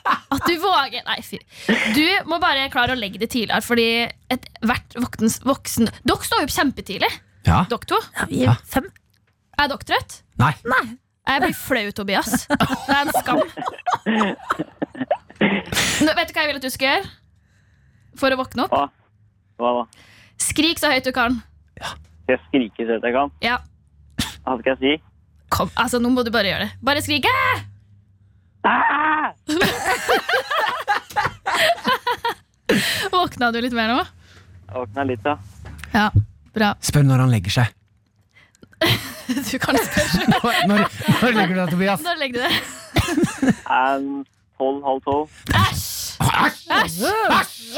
Speaker 7: At du våger Nei, fy. Du må bare klare å legge det tidligere, fordi ethvert voktens- voksen Dere står jo opp kjempetidlig,
Speaker 3: Ja.
Speaker 7: dere to.
Speaker 2: Ja, vi
Speaker 3: Ja.
Speaker 2: er fem.
Speaker 7: Er dere trøtt?
Speaker 3: Nei.
Speaker 7: Jeg blir flau, Tobias. Det er en skam. Nå, vet du hva jeg vil at du skal gjøre? For å våkne opp?
Speaker 9: hva? Hva da?
Speaker 7: Skrik så høyt du kan.
Speaker 9: Skal jeg skrike så høyt jeg kan?
Speaker 7: Ja.
Speaker 9: Hva skal jeg si?
Speaker 7: Kom, altså Nå må du bare gjøre det. Bare skrik. «Æ!»
Speaker 9: Ah!
Speaker 7: Våkna du litt mer nå?
Speaker 9: Jeg våkna litt da.
Speaker 7: Ja. Bra.
Speaker 3: Spør når han legger seg.
Speaker 7: Du kan spørre.
Speaker 3: Når, når legger du deg, Tobias?
Speaker 7: Når legger du deg?
Speaker 9: Um, 12, halv 12.
Speaker 7: Æsj!
Speaker 3: Æsj!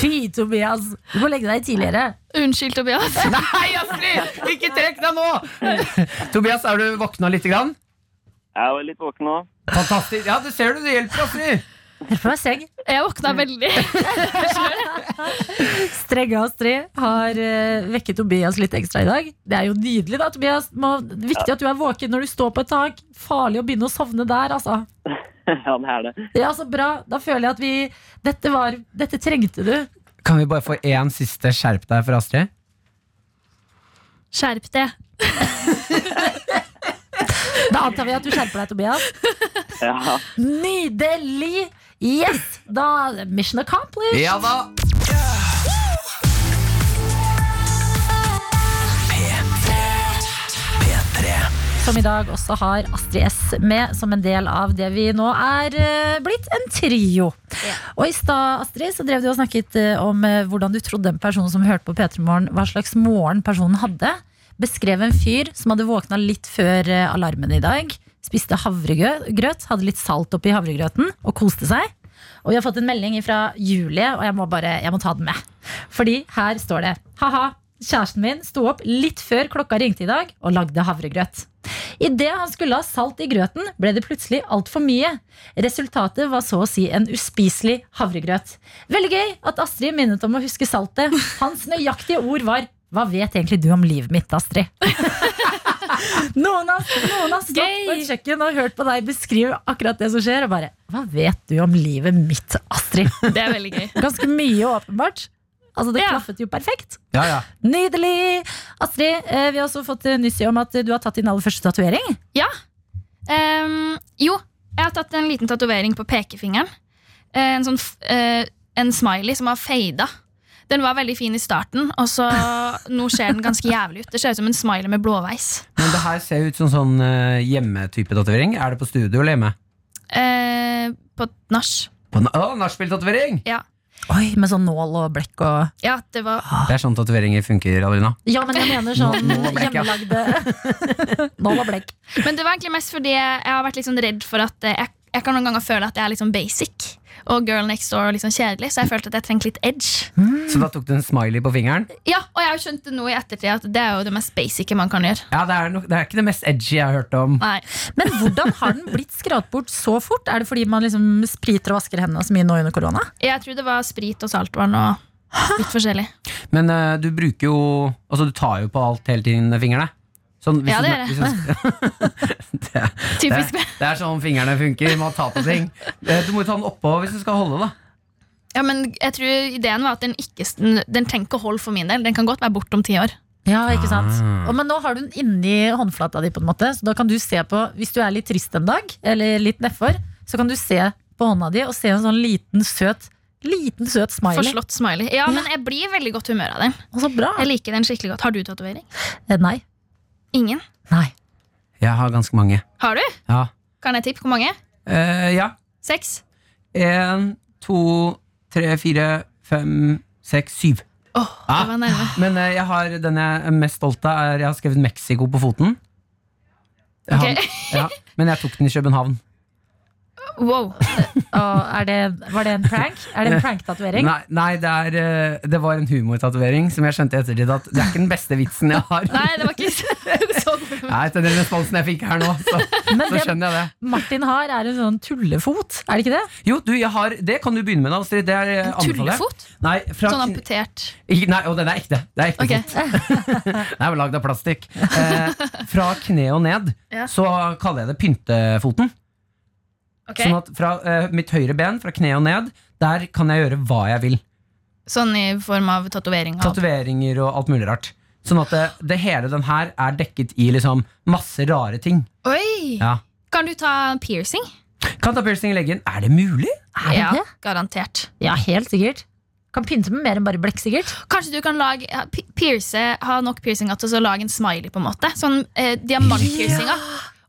Speaker 2: Fy, Tobias. Du må legge deg tidligere.
Speaker 7: Unnskyld, Tobias.
Speaker 3: Nei, Astrid! Ikke trekk deg nå! Tobias, er du våkna lite grann?
Speaker 9: Jeg var litt våken nå.
Speaker 3: Fantastisk. Ja, det ser du. Det hjelper, Astrid.
Speaker 2: Hjelp meg, streng.
Speaker 7: Jeg våkna veldig.
Speaker 2: Strenge Astrid har eh, vekket Tobias litt ekstra i dag. Det er jo nydelig, da, Tobias. Må, viktig at du er våken når du står på et tak. Farlig å begynne å sovne der, altså.
Speaker 9: ja, det er det.
Speaker 2: Ja, så bra. Da føler jeg at vi Dette var Dette trengte du.
Speaker 3: Kan vi bare få én siste skjerp deg for Astrid?
Speaker 7: Skjerp deg.
Speaker 2: Da antar vi at du skjerper deg, Tobias.
Speaker 9: Ja.
Speaker 2: Nydelig! Yes! Da Mission accomplished.
Speaker 3: Ja da.
Speaker 2: Som i dag også har Astrid S med som en del av det vi nå er eh, blitt en trio. Og i stad, Astrid, så drev du og snakket eh, om eh, hvordan du trodde en person som hørte på P3 Morgen, hva slags morgen personen hadde. Beskrev en fyr som hadde våkna litt før eh, alarmen i dag. Spiste havregrøt, hadde litt salt oppi havregrøten og koste seg. Og vi har fått en melding fra Julie, og jeg må bare jeg må ta den med. Fordi her står det Haha, kjæresten min sto opp litt før klokka ringte i dag og lagde havregrøt. Idet han skulle ha salt i grøten, ble det plutselig altfor mye. Resultatet var så å si en uspiselig havregrøt. Veldig gøy at Astrid minnet om å huske saltet. Hans nøyaktige ord var Hva vet egentlig du om livet mitt, Astrid? Noen har, noen har stått
Speaker 7: Gøy.
Speaker 2: på et kjøkken og hørt på deg beskrive akkurat det som skjer, og bare Hva vet du om livet mitt, Astrid?
Speaker 7: Det er veldig gøy.
Speaker 2: Ganske mye, åpenbart. Altså, det
Speaker 7: Ja.
Speaker 2: klaffet jo perfekt.
Speaker 3: Ja, ja.
Speaker 2: Nydelig! Astrid, eh, vi har også fått eh, nyss i om at eh, du har tatt din aller første tatovering.
Speaker 7: Em, jo, jeg har tatt en liten tatovering på pekefingeren. Eh, En sånn f- eh, en smiley som har fada. Den var veldig fin i starten, og så nå ser den ganske jævlig ut. Det ser ut som en smiley med blåveis.
Speaker 3: Men det her ser ut som sånn eh, hjemmetype tatovering. Er det på studio eller hjemme?
Speaker 7: Eh, på nach.
Speaker 3: På na- Å, nachspiel-tatovering!
Speaker 7: Ja.
Speaker 2: Oi, med sånn nål og blekk og
Speaker 7: ja, det var
Speaker 3: Det er sånn tatoveringer funker, Adelina.
Speaker 2: Ja, men jeg mener sånn
Speaker 3: Nål og blekk, ja.
Speaker 2: hjemmelagde Nål og blekk.
Speaker 7: Men det var egentlig mest fordi jeg har vært litt sånn redd for at eh, jeg, jeg kan noen ganger føle at jeg er litt sånn basic. Og girl next door og litt sånn kjedelig, så jeg følte at jeg trengte litt edge.
Speaker 2: Mm.
Speaker 3: Så da tok du en smiley på fingeren?
Speaker 7: Ja, Og jeg har jo skjønt det nå i ettertid at det er jo det mest basice man kan gjøre.
Speaker 3: Ja, det er, nok, det er ikke det mest edgy jeg har hørt om.
Speaker 7: Nei.
Speaker 2: Men hvordan har den blitt skrapt bort så fort? Er det fordi man liksom spriter og vasker hendene så mye nå under korona?
Speaker 7: Jeg tror det var sprit og saltvann og litt forskjellig.
Speaker 3: Men eh, du bruker jo Altså, du tar jo på alt hele tiden med fingrene. Sånn,
Speaker 7: Ja,
Speaker 3: du-
Speaker 7: det gjør jeg.
Speaker 3: hvis du- det, er-
Speaker 7: Typisk
Speaker 3: det, er- det er sånn fingrene funker. Man tar på ting. Eh, Du må jo ta den oppå hvis du skal holde, da.
Speaker 7: Ja, men jeg tror ideen var at den ikke Den trenger ikke hold for min del. Den kan godt være borte om ti år.
Speaker 2: Ja, ikke sant?
Speaker 3: Ah.
Speaker 2: Og, men nå har du den inni håndflata di, på en måte. Så da kan du se på, hvis du er litt trist en dag, eller litt nedfor, så kan du se på hånda di og se en sånn liten, søt Liten, søt smiley.
Speaker 7: Forslått smiley. Ja, men jeg blir i veldig godt humør av den.
Speaker 2: Å, Så bra.
Speaker 7: Jeg liker den skikkelig godt. Har du tatovering?
Speaker 2: Eh, Nei.
Speaker 7: Ingen.
Speaker 2: Nei.
Speaker 3: Jeg har ganske mange.
Speaker 7: Har du?
Speaker 3: Ja.
Speaker 7: Kan jeg tippe hvor mange?
Speaker 3: Eh, ja.
Speaker 7: Seks?
Speaker 3: En, to, tre, fire, fem, seks, syv.
Speaker 7: Åh,
Speaker 3: Ah.
Speaker 7: det var nærme.
Speaker 3: Men eh, jeg har, den jeg er mest stolt av, er jeg har skrevet Mexico på foten. Jeg har-
Speaker 7: Ok.
Speaker 3: ja, men jeg tok den i København.
Speaker 7: Wow.
Speaker 2: Og er det, var det en prank? Er det en prank-tatovering?
Speaker 3: Nei, nei det, er, eh, det var en humortatovering som jeg skjønte i ettertid at det er ikke den beste vitsen jeg har.
Speaker 7: Nei, det var ikke sånn.
Speaker 3: Nei, etter den responsen jeg fikk her nå, så,
Speaker 2: Men
Speaker 3: så
Speaker 2: det
Speaker 3: skjønner jeg det.
Speaker 2: Martin har, er en sånn tullefot. Er det ikke det?
Speaker 3: Jo, du, jeg har, det kan du begynne med, da, Astrid. Det er eh,
Speaker 7: En
Speaker 3: anbefaler jeg.
Speaker 7: tullefot?
Speaker 3: Nei, fra,
Speaker 7: Sånn amputert.
Speaker 3: ikke, nei, og den er ekte. Det er ekte
Speaker 7: Ok.
Speaker 3: fot. Den er vel lagd av plastikk. Eh, fra kne og ned
Speaker 7: Ja.
Speaker 3: så kaller jeg det pyntefoten.
Speaker 7: ok.
Speaker 3: Sånn at fra eh, mitt høyre ben, fra kne og ned, der kan jeg gjøre hva jeg vil.
Speaker 7: Sånn i form av tatovering. av-
Speaker 3: Tatoveringer og alt mulig rart. Sånn at det, det hele den her er dekket i liksom masse rare ting.
Speaker 7: Oi!
Speaker 3: Ja.
Speaker 7: Kan du ta piercing?
Speaker 3: Kan ta piercing i leggen. Er det mulig?
Speaker 2: Er det
Speaker 7: ja,
Speaker 2: det?
Speaker 7: garantert.
Speaker 2: Ja, helt sikkert. Kan pynte med mer enn bare blekk, sikkert.
Speaker 7: Kanskje du kan lage, ha- pi- pierce, ha nok piercing at du så lage en smiley, på en måte. Sånn eh, diamantpiercinger.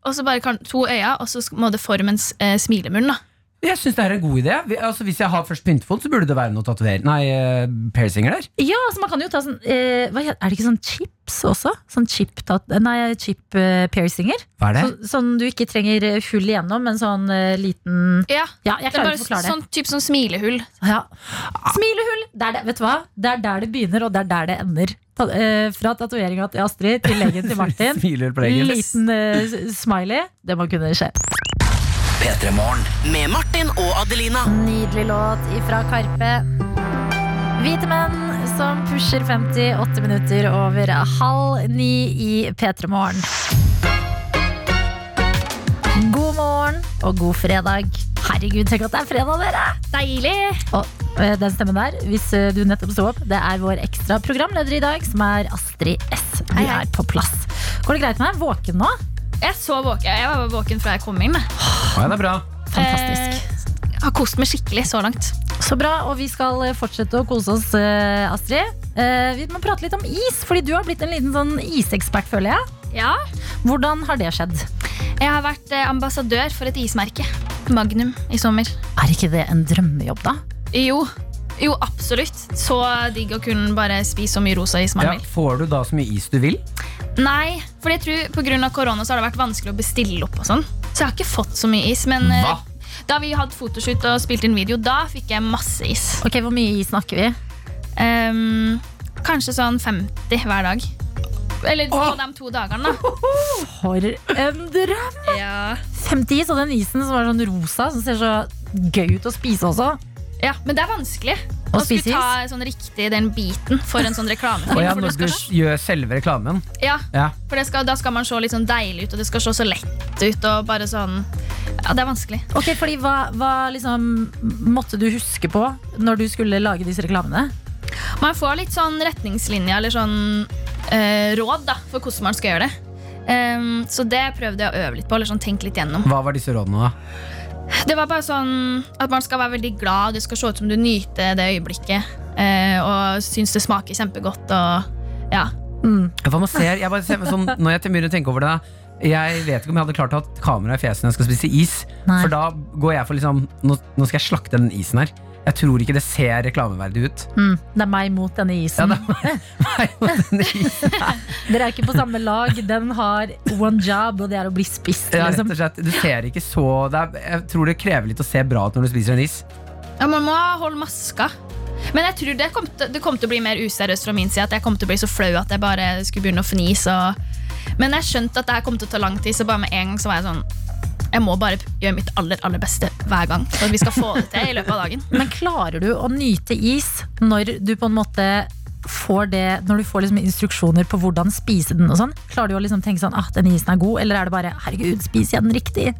Speaker 7: Og så bare kan, to øyne, og så sk- må det forme en s- eh, smilemunn. da
Speaker 3: Jeg syns det er en god idé. Vi, altså, hvis jeg har først pyntefot, så burde det være noe tatovering. Nei, eh, piercinger der.
Speaker 2: Ja, altså man kan jo ta sånn eh, hva, het- Er det ikke sånn chips også? Sånn chip, tat- nei, chip eh, piercinger?
Speaker 3: Hva er det?
Speaker 2: Så, sånn du ikke trenger eh, hull igjennom, men sånn eh, liten
Speaker 7: Ja,
Speaker 2: Ja, jeg
Speaker 7: det er
Speaker 2: klarer
Speaker 7: bare
Speaker 2: ikke å forklare det.
Speaker 7: sånn, typ sånn smilehull.
Speaker 2: Ja. Smilehull! Det er det, vet du hva? Det er der det begynner, og det er der det ender. Ta, eh, fra tatoveringa til Astrid til leggen til Martin.
Speaker 3: Smiler på leggen.
Speaker 2: Liten eh, s- smiley. Det må kunne skje.
Speaker 5: P3-morgen.
Speaker 6: Med Martin og Adelina.
Speaker 2: Nydelig låt ifra Karpe. Hvite menn som pusher 50, 8 minutter over halv ni i P3 Morgen. God morgen og god fredag. Herregud, tenk at det er fredag, dere!
Speaker 7: Deilig!
Speaker 2: Og eh, den stemmen der, hvis eh, du nettopp så opp, det er vår ekstra programleder i dag, som er Astrid S. Du
Speaker 7: Hei, hei.
Speaker 2: er på plass. Går det greit med deg? Våken nå?
Speaker 7: Jeg, er så våken. jeg var bare våken fra jeg kom inn. jeg.
Speaker 3: Ja, det er bra.
Speaker 2: Fantastisk.
Speaker 7: Eh, har kost meg skikkelig så langt.
Speaker 2: Så bra, og vi skal eh, fortsette å kose oss, eh, Astrid. Eh, Vi må prate litt om is, fordi du har blitt en liten sånn isekspert, føler jeg.
Speaker 7: Ja,
Speaker 2: Hvordan har det skjedd?
Speaker 7: Jeg har vært eh, ambassadør for et ismerke. Magnum i sommer.
Speaker 2: Er ikke det en drømmejobb, da?
Speaker 7: Jo, jo absolutt. Så digg å kunne bare spise så mye rosa is man
Speaker 3: Ja,
Speaker 7: vil.
Speaker 3: får du da så mye is du vil?
Speaker 7: Nei, for jeg tror på grunn av korona så har det vært vanskelig å bestille opp og sånn. Så jeg har ikke fått så mye is. Men eh,
Speaker 3: Hva?
Speaker 7: da vi hadde fotoshoot og spilte inn video, da fikk jeg masse is.
Speaker 2: Ok, Hvor mye is snakker vi?
Speaker 7: Ehm, kanskje sånn 50 hver dag. Eller på de to dagene, da.
Speaker 2: For en drøm!
Speaker 7: Ja.
Speaker 2: 50 is, og den isen som er sånn rosa, som ser så gøy ut å spise også.
Speaker 7: Men det er vanskelig
Speaker 2: Å
Speaker 7: å skulle
Speaker 2: spise is?
Speaker 7: ta sånn riktig den biten for en sånn reklamefilm.
Speaker 3: Og ja,
Speaker 7: for det
Speaker 3: når du
Speaker 7: skal se-
Speaker 3: gjør selve reklamen.
Speaker 7: ja,
Speaker 3: Ja.
Speaker 7: For det skal, da skal man se litt sånn deilig ut, og det skal se så lett ut. Og bare sånn Ja, det er vanskelig.
Speaker 2: Ok, fordi hva, hva liksom måtte du huske på når du skulle lage disse reklamene?
Speaker 7: Man får litt sånn retningslinjer eller sånn eh, råd da for hvordan man skal gjøre det. Ehm, så det prøvde jeg å øve litt på. Eller sånn tenke litt gjennom
Speaker 3: Hva var disse rådene, da?
Speaker 8: Det var bare sånn at man skal være veldig glad. Det skal se ut som du nyter det øyeblikket. eh, Og syns det smaker kjempegodt. Og ja.
Speaker 3: Hva man ser, jeg bare ser sånn, Når jeg begynner å tenke over det Jeg vet ikke om jeg hadde klart å ha et kamera i fjeset når jeg skal spise is
Speaker 2: Nei.
Speaker 3: For da går jeg for liksom nå, nå skal jeg slakte den isen her Jeg tror ikke det ser reklameverdig ut
Speaker 2: Mm, det er meg mot denne
Speaker 3: ja,
Speaker 2: isen.
Speaker 3: det er meg mot den isen.
Speaker 2: Dere er ikke på samme lag. Den har one job, og det er å bli spist.
Speaker 3: ja, rett
Speaker 2: Liksom.
Speaker 3: og slett, Du ser ikke så det er, Jeg tror det krever litt å se bra ut når du spiser en is
Speaker 8: ja, man må holde maska. Men jeg tror det kom, til, det kom til å bli mer useriøst fra min side. At jeg kom til å bli så flau at jeg bare skulle begynne å fnise. Og... Men jeg skjønte at det her kom til å ta lang tid, så bare med en gang så var jeg sånn Jeg må bare gjøre mitt aller, aller beste hver gang. For at vi skal få det til i løpet av dagen.
Speaker 2: Men klarer du å nyte is når du på en måte får det Når du får liksom instruksjoner på hvordan spise den og sånn? Klarer du å liksom tenke sånn at den isen er god, eller er det bare herregud, spis jeg den riktig?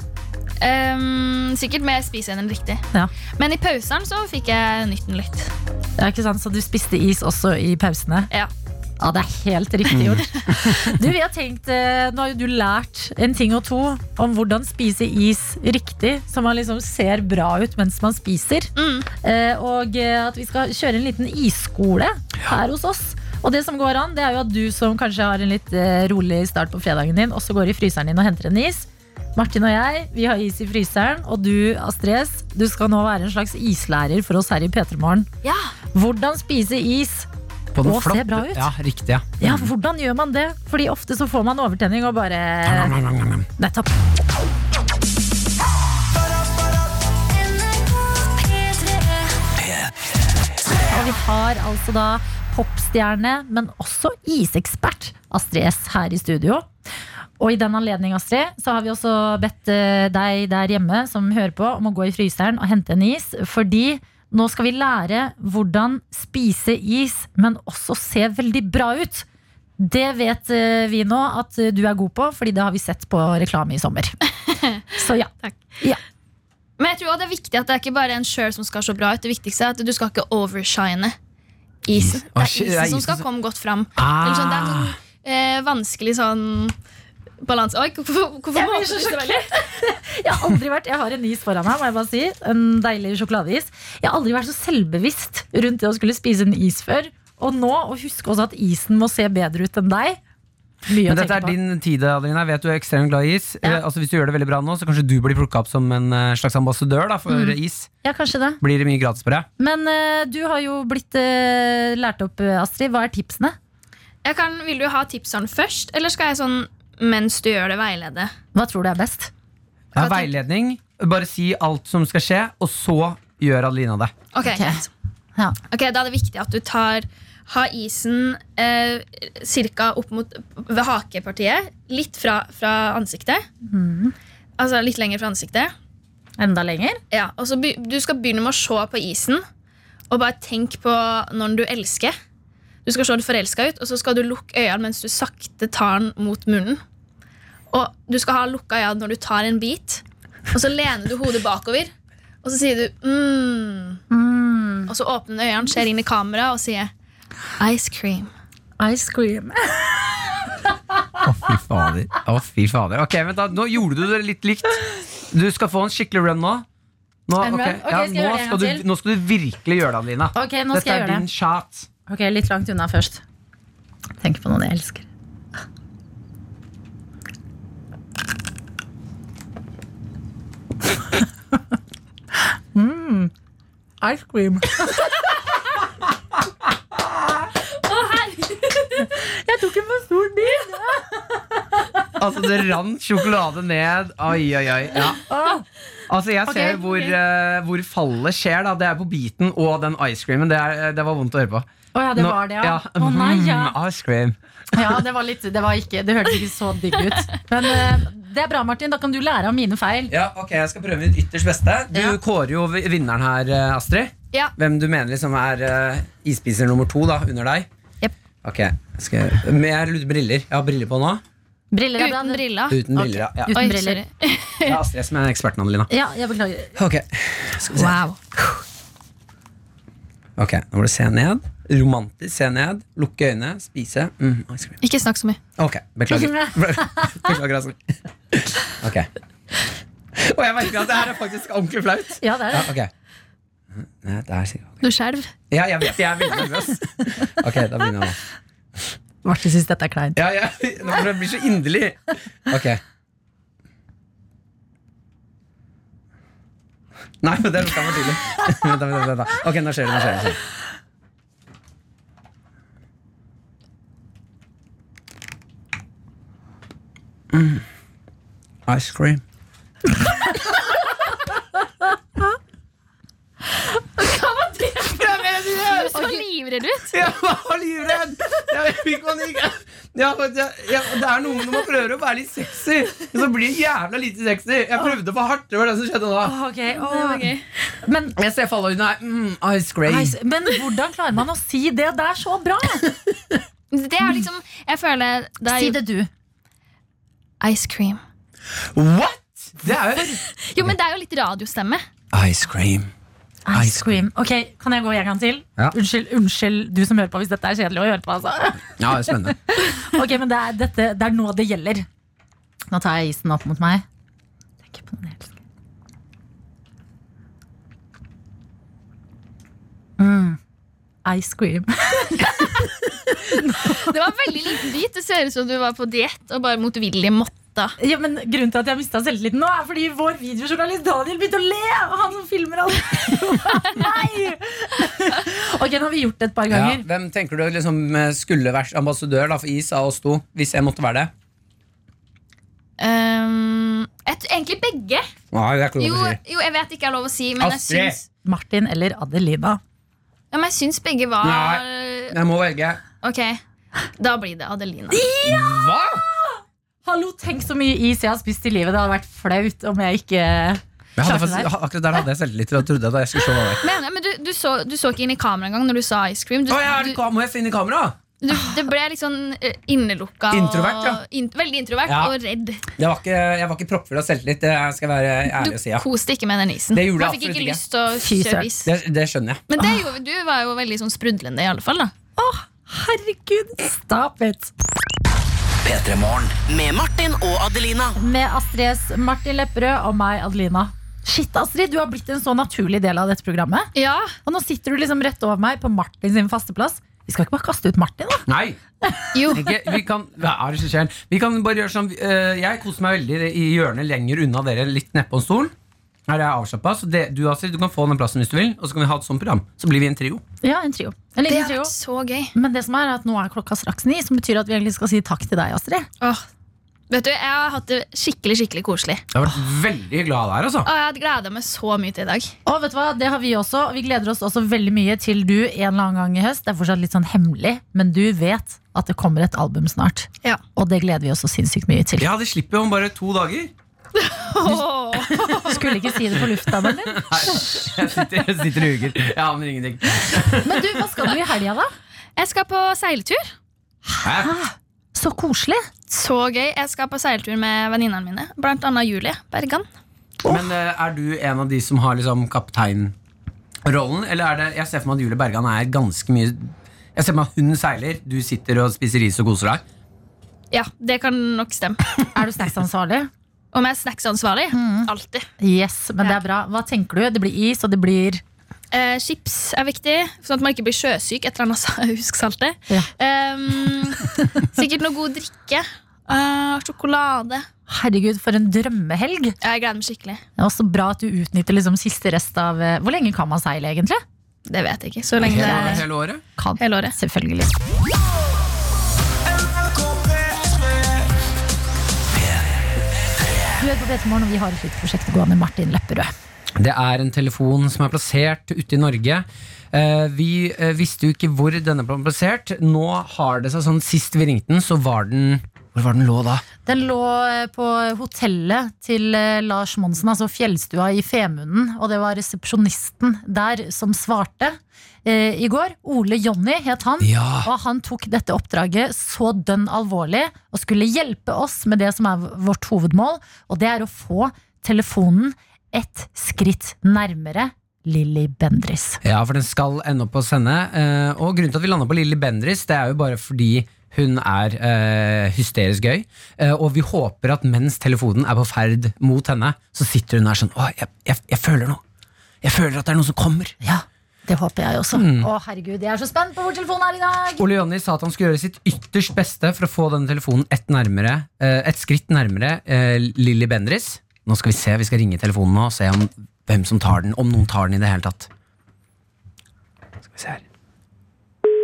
Speaker 8: Ehm, sikkert mer spise enn riktig.
Speaker 2: Ja.
Speaker 8: Men i pausene så fikk jeg nytten litt.
Speaker 2: Ja, ikke sant? Så du spiste is også i pausene?
Speaker 8: Ja.
Speaker 2: Ja, det er helt riktig gjort. Du, vi har tenkt, eh, Nå har jo du lært en ting og to om hvordan spise is riktig, så man liksom ser bra ut mens man spiser.
Speaker 8: Mm.
Speaker 2: Eh, Og eh, at vi skal kjøre en liten isskole her hos oss. Og det som går an, det er jo at du som kanskje har en litt eh, rolig start på fredagen din, også går i fryseren din og henter en is. Martin og jeg, vi har is i fryseren. Og du, Astrid S, du skal nå være en slags islærer for oss her i P3morgen.
Speaker 8: Ja.
Speaker 2: Hvordan spise is
Speaker 3: På den
Speaker 2: Å, se
Speaker 3: flotte-
Speaker 2: bra ut.
Speaker 3: Ja, riktig ja.
Speaker 2: ja, hvordan gjør man det? Fordi ofte så får man overtenning og bare Nettopp. Og vi har altså da popstjerne, men også isekspert Astrid S her i studio. Og i den anledning, Astrid, så har vi også bedt eh, deg der hjemme som hører på, om å gå i fryseren og hente en is. Fordi nå skal vi lære hvordan spise is, men også se veldig bra ut. Det vet eh, vi nå at eh, du er god på, fordi det har vi sett på reklame i sommer. Så ja.
Speaker 8: Men jeg tror også det er viktig at det er ikke bare en sjøl som skal se bra ut. Det viktigste er at du skal ikke overshine isen.
Speaker 3: Mm. Å,
Speaker 8: Det er
Speaker 3: shit, det er
Speaker 8: isen
Speaker 3: isen
Speaker 8: som skal
Speaker 3: som-
Speaker 8: komme godt fram.
Speaker 3: Ah.
Speaker 8: Eller sånn, det er en sånn, eh, vanskelig sånn balanse Oi, hvorfor, hvorfor
Speaker 2: Jeg blir
Speaker 8: målte
Speaker 2: så
Speaker 8: du så veldig?
Speaker 2: Jeg har aldri vært, jeg har en is foran meg, må jeg bare si. En deilig sjokoladeis. Jeg har aldri vært så selvbevisst rundt det å skulle spise en is før. Og nå å huske også at isen må se bedre ut enn deg. Mye
Speaker 3: Men
Speaker 2: å
Speaker 3: dette
Speaker 2: tenke
Speaker 3: er
Speaker 2: på.
Speaker 3: din tid, Adelina. Jeg vet du er ekstremt glad i is.
Speaker 2: Ja.
Speaker 3: Eh, altså, hvis du gjør det veldig bra nå, så kanskje du blir plukka opp som en eh, slags ambassadør da, for
Speaker 2: Mm.
Speaker 3: is.
Speaker 2: Ja, kanskje det.
Speaker 3: Blir det mye gratis på deg?
Speaker 2: Men eh, du har jo blitt eh, lært opp, eh, Astrid. Hva er tipsene?
Speaker 8: Jeg kan, vil du ha tipsene først, eller skal jeg sånn mens du gjør det, veilede?
Speaker 2: Hva tror du er best?
Speaker 3: Det er
Speaker 8: Hva tenk-
Speaker 3: veiledning. Bare si alt som skal skje, og så gjør Adelina det.
Speaker 8: Ok,
Speaker 2: Ok.
Speaker 8: greit.
Speaker 2: Ja.
Speaker 8: Ok, Da er det viktig at du tar har isen eh, cirka opp mot ved hakepartiet. Litt fra, fra ansiktet. Altså litt lenger fra ansiktet.
Speaker 2: Enda lenger?
Speaker 8: Ja, og så be, Du skal begynne med å se på isen, og bare tenk på når du elsker. Du skal se forelska ut, og så skal du lukke øynene mens du sakte tar den mot munnen. Og du skal ha lukka øynene når du tar en bit, og så lener du hodet bakover. Og så sier du mm. Og så åpner du øynene, ser inn i kamera og sier Ice cream.
Speaker 2: Ice cream.
Speaker 3: Å, fy fader. Å, fy fader. Ok, vent da, Nå gjorde du det litt likt. Du skal få en skikkelig run nå. Nå,
Speaker 2: En run?
Speaker 3: ok.
Speaker 2: Ok,
Speaker 3: Ja,
Speaker 2: skal jeg
Speaker 3: nå,
Speaker 2: gjøre det en
Speaker 3: skal du,
Speaker 2: gang til?
Speaker 3: nå skal du virkelig gjøre det, Adelina.
Speaker 2: Ok, nå
Speaker 3: Dette
Speaker 2: skal jeg
Speaker 3: er
Speaker 2: gjøre
Speaker 3: din
Speaker 2: det.
Speaker 3: shot.
Speaker 2: Ok, Litt langt unna først. Tenk på noen jeg elsker. mm, ice cream. Jeg tok en for stor bit.
Speaker 3: Altså, det rant sjokolade ned. Oi, oi, oi. Ja. Altså, jeg ser hvor, eh, hvor fallet skjer. da Det er på biten og den ice creamen. Det, er, eh, det var vondt å høre på.
Speaker 2: Å ja, det
Speaker 3: Nå-
Speaker 2: var det, ja.
Speaker 3: ja.
Speaker 2: Å nei, ja.
Speaker 3: Mm, ice cream.
Speaker 2: Ja, det var litt Det, var ikke, det hørtes ikke så digg ut. Men eh, det er bra, Martin. Da kan du lære av mine feil.
Speaker 3: Ja, ok, Jeg skal prøve mitt ytterst beste. Du
Speaker 2: Ja.
Speaker 3: kårer jo vi- vinneren her, eh, Astrid.
Speaker 8: Ja.
Speaker 3: Hvem du mener liksom er eh, isspiser nummer to da, under deg.
Speaker 2: Jep.
Speaker 3: Ok, skal jeg, Men jeg har litt briller. Jeg har briller på nå.
Speaker 2: Briller er bra.
Speaker 8: Uten briller.
Speaker 3: Uten
Speaker 2: Ok.
Speaker 3: briller, ja. ja.
Speaker 2: Uten
Speaker 8: Oi,
Speaker 2: briller.
Speaker 8: sorry.
Speaker 3: Det er Astrid som er eksperten, Adelina.
Speaker 2: Ja, jeg beklager.
Speaker 3: Ok, skal vi se.
Speaker 2: Wow.
Speaker 3: Ok, nå må du se ned. Romantisk se ned. Lukke øynene, spise. Mm, ice cream.
Speaker 8: Ikke snakk så mye.
Speaker 3: Ok, beklager. beklager altså. Ok. Og jeg merker at det her er faktisk ordentlig flaut.
Speaker 2: Ja, det er
Speaker 3: Ja,
Speaker 2: det.
Speaker 3: ok Nei, det er sikkert ok.
Speaker 8: Du skjelv.
Speaker 3: Ja, jeg vet jeg er veldig nervøs. Ok, da begynner jeg nå.
Speaker 2: Marte syns dette er kleint.
Speaker 3: Ja, ja. Nå for det blir så inderlig. Ok. Nei, men det lukta for tidlig. Vent, da, vent, da, vent, da. Ok, nå skjer det. Nå skjer det, nå skjer det. Mm. Ice cream.
Speaker 8: Du så livredd ut.
Speaker 3: Jeg var livredd! Jeg fikk panikk. Ja, men jeg, jeg, det er noe når man prøver å være litt sexy, men så blir det jævla lite sexy. Jeg prøvde for hardt. Det var det som skjedde nå.
Speaker 2: Ok,
Speaker 8: var gøy.
Speaker 2: men,
Speaker 3: Jeg ser for meg at hun er mm, ice cream.
Speaker 2: Nei, men hvordan klarer man å si det der så bra?
Speaker 8: Det er liksom Jeg føler det er
Speaker 2: Si det du.
Speaker 8: ice cream.
Speaker 3: What?! Det er jo
Speaker 8: Jo, men det er jo litt radiostemme.
Speaker 3: Ice cream.
Speaker 2: Ice cream. Ok, Kan jeg gå en gang til?
Speaker 3: Ja.
Speaker 2: Unnskyld, unnskyld du som hører på, hvis dette er kjedelig å høre på. Altså.
Speaker 3: Ja, det er spennende.
Speaker 2: Ok, men det er, dette, det er nå det gjelder. Nå tar jeg isen opp mot meg. Tenker på den jeg elsker. Mm. Ice cream.
Speaker 8: Det var en veldig liten bit. Det ser ut som du var på diett og bare motvillig måtta.
Speaker 2: Ja, men Grunnen til at jeg mista selvtilliten nå, er fordi vår videojournalist Daniel begynte å le! Og han som filmer alt. Nei! Ok, nå har vi gjort det et par
Speaker 3: Ja,
Speaker 2: ganger.
Speaker 3: hvem tenker du liksom skulle vært ambassadør da, for is av oss to, hvis jeg måtte være det?
Speaker 8: Ehm, jeg tror egentlig begge.
Speaker 3: Nei, det er ikke
Speaker 8: Jo,
Speaker 3: lov å si.
Speaker 8: jo, jeg vet ikke er lov å si, men jeg
Speaker 3: Astrid.
Speaker 8: syns,
Speaker 2: Martin eller Adelina?
Speaker 8: ja, men jeg syns begge var
Speaker 3: Jeg må velge.
Speaker 8: Ok, da blir det Adelina.
Speaker 3: Hva?!
Speaker 2: Hallo, tenk så mye is jeg har spist i livet. Det hadde vært flaut om jeg ikke
Speaker 3: Jeg hadde
Speaker 2: Klarte
Speaker 3: faktisk, akkurat der hadde jeg selvtillit til å trodde at jeg skulle se hva det var.
Speaker 8: Men, men du, du, så, du så ikke inn i kamera engang når du sa ice cream. Du,
Speaker 3: Å, jeg er
Speaker 8: du,
Speaker 3: ikke- Må jeg finne kamera?
Speaker 8: du, det ble litt sånn eh, innelukka.
Speaker 3: Introvert,
Speaker 8: og,
Speaker 3: ja.
Speaker 8: in, veldig introvert
Speaker 3: Ja.
Speaker 8: og redd.
Speaker 3: Jeg var ikke, jeg var ikke proppfull av selvtillit. Det skal jeg være
Speaker 8: Du
Speaker 3: ærlig og si. Ja.
Speaker 8: koste ikke med den isen.
Speaker 3: Det gjorde jeg
Speaker 8: Man fikk
Speaker 3: absolutt
Speaker 8: ikke
Speaker 3: ikke.
Speaker 8: lyst til å
Speaker 2: Fy søren.
Speaker 8: kjøre is.
Speaker 3: Det, det skjønner jeg.
Speaker 8: Men det gjorde, du var jo veldig sånn sprudlende, i alle fall. da
Speaker 2: Herregud, stop it!
Speaker 10: P3 Morgen.
Speaker 6: Med Martin og Adelina.
Speaker 2: Med Astrid S, Martin Lepperød og meg, Adelina. Shit, Astrid, du har blitt en så naturlig del av dette programmet.
Speaker 8: Ja,
Speaker 2: Og nå sitter du liksom rett over meg på Martin sin faste plass. Vi skal ikke bare kaste ut Martin, da?
Speaker 3: Nei!
Speaker 8: jo
Speaker 3: Ikke, vi, kan, hva er det som skjer? vi kan bare gjøre sånn eh, Jeg koser meg veldig i hjørnet lenger unna dere, litt nedpå stolen. Her er jeg avslappa, så det, du, Astrid, du kan få den plassen hvis du vil. Og så kan vi ha et sånt program. Så blir vi en trio.
Speaker 2: Ja, en trio. En
Speaker 8: Det
Speaker 2: liten
Speaker 8: har
Speaker 2: trio.
Speaker 8: vært så gøy.
Speaker 2: Men det som er er at nå er klokka straks ni, som betyr at vi egentlig skal si takk til deg, Astrid.
Speaker 8: Åh. Vet du, Jeg har hatt det skikkelig skikkelig koselig.
Speaker 3: Jeg har vært veldig glad der, altså.
Speaker 8: Og jeg har gleda meg så mye til i dag.
Speaker 2: Og vet du hva, det har vi også. og Vi gleder oss også veldig mye til du en eller annen gang i høst. Det er fortsatt litt sånn hemmelig, men du vet at det kommer et album snart.
Speaker 8: Ja.
Speaker 2: Og det gleder vi oss så sinnssykt mye til.
Speaker 3: Ja, det slipper jo om bare to dager.
Speaker 8: Åh.
Speaker 2: Skulle ikke si det på lufta, men eller?
Speaker 3: Nei, jeg sitter, jeg sitter og ljuger. Jeg aner ingenting.
Speaker 2: Men du, hva skal du i helga, da?
Speaker 8: Jeg skal på seiltur.
Speaker 3: Hæ?
Speaker 2: Så koselig!
Speaker 8: Så gøy. Jeg skal på seiltur med venninnene mine, blant annet Julie Bergan.
Speaker 3: Men eh, er du en av de som har liksom kapteinrollen? Eller er det Jeg ser for meg at Julie Bergan er ganske mye Jeg ser for meg at hun seiler, du sitter og spiser ris og koser deg.
Speaker 8: Ja, det kan nok stemme.
Speaker 2: Er du snacksansvarlig?
Speaker 8: Om jeg er snacksansvarlig? Alltid.
Speaker 2: Yes, men det er bra. Hva tenker du? Det blir is, og det blir
Speaker 8: Eh, chips er viktig, sånn at man ikke blir sjøsyk etter annet sa- husk saltet.
Speaker 2: Ja.
Speaker 8: Ehm, sikkert noe god drikke. Eh, sjokolade.
Speaker 2: Herregud, for en drømmehelg!
Speaker 8: Jeg gleder meg skikkelig.
Speaker 2: Det er også bra at du utnytter liksom siste rest av eh, Hvor lenge kan man seile, egentlig?
Speaker 8: Det vet jeg ikke. Så lenge det
Speaker 3: Hele,
Speaker 8: er
Speaker 3: hele året.
Speaker 2: Kan.
Speaker 8: hele året.
Speaker 2: Selvfølgelig. Du er på Petermorgen, og vi har et lite prosjekt gående. Martin Lepperød.
Speaker 3: Det er en telefon som er plassert ute i Norge. Eh, vi eh, visste jo ikke hvor denne ble plassert. Nå har det seg sånn Sist vi ringte den, så var den Hvor var den lå da?
Speaker 2: Den lå eh, på hotellet til eh, Lars Monsen, altså Fjellstua i Femunden. Og det var resepsjonisten der som svarte eh, i går. Ole Jonny het han.
Speaker 3: Ja.
Speaker 2: Og han tok dette oppdraget så dønn alvorlig og skulle hjelpe oss med det som er vårt hovedmål, og det er å få telefonen et skritt nærmere Lilly Bendris.
Speaker 3: Ja, for den skal ende opp å sende. eh, Og grunnen til at vi landa på Lilly Bendris, det er jo bare fordi Hun er eh, hysterisk gøy. Eh, og vi håper at mens telefonen er på ferd mot henne, så sitter hun der sånn Å, jeg, jeg, jeg føler noe. Jeg føler at det er noen som kommer.
Speaker 2: Ja, det håper jeg også. Å, herregud, jeg er så spent på hvor telefonen er i dag!
Speaker 3: Ole Jonny sa at han skulle gjøre sitt ytterst beste for å få denne telefonen et, nærmere, eh, et skritt nærmere eh, Lilly Bendriss. Nå skal vi se, vi skal ringe telefonen nå og se om, hvem som tar den. Om noen tar den i det hele tatt. Skal vi se her.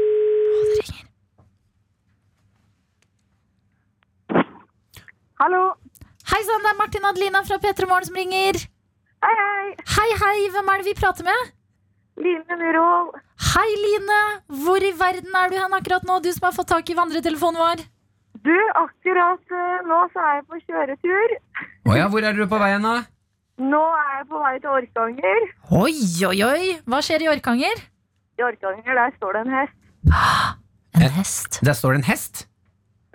Speaker 11: Hallo.
Speaker 2: Hei sann, det er Martin Adelina fra P3 Morgen som ringer.
Speaker 11: Hei, hei.
Speaker 2: Hei, hei, hvem er det vi prater med?
Speaker 11: Line Myhrvold.
Speaker 2: Hei, Line! Hvor i verden er du hen akkurat nå, du som har fått tak i vandretelefonen vår?
Speaker 11: Du, akkurat eh, nå så er jeg på kjøretur.
Speaker 3: Å ja, hvor er dere på veien, da?
Speaker 11: Nå er jeg på vei til Orkanger.
Speaker 2: Oi, oi, oi! Hva skjer i Orkanger?
Speaker 11: I Orkanger der står det en hest.
Speaker 2: En hest.
Speaker 3: Der står det en hest.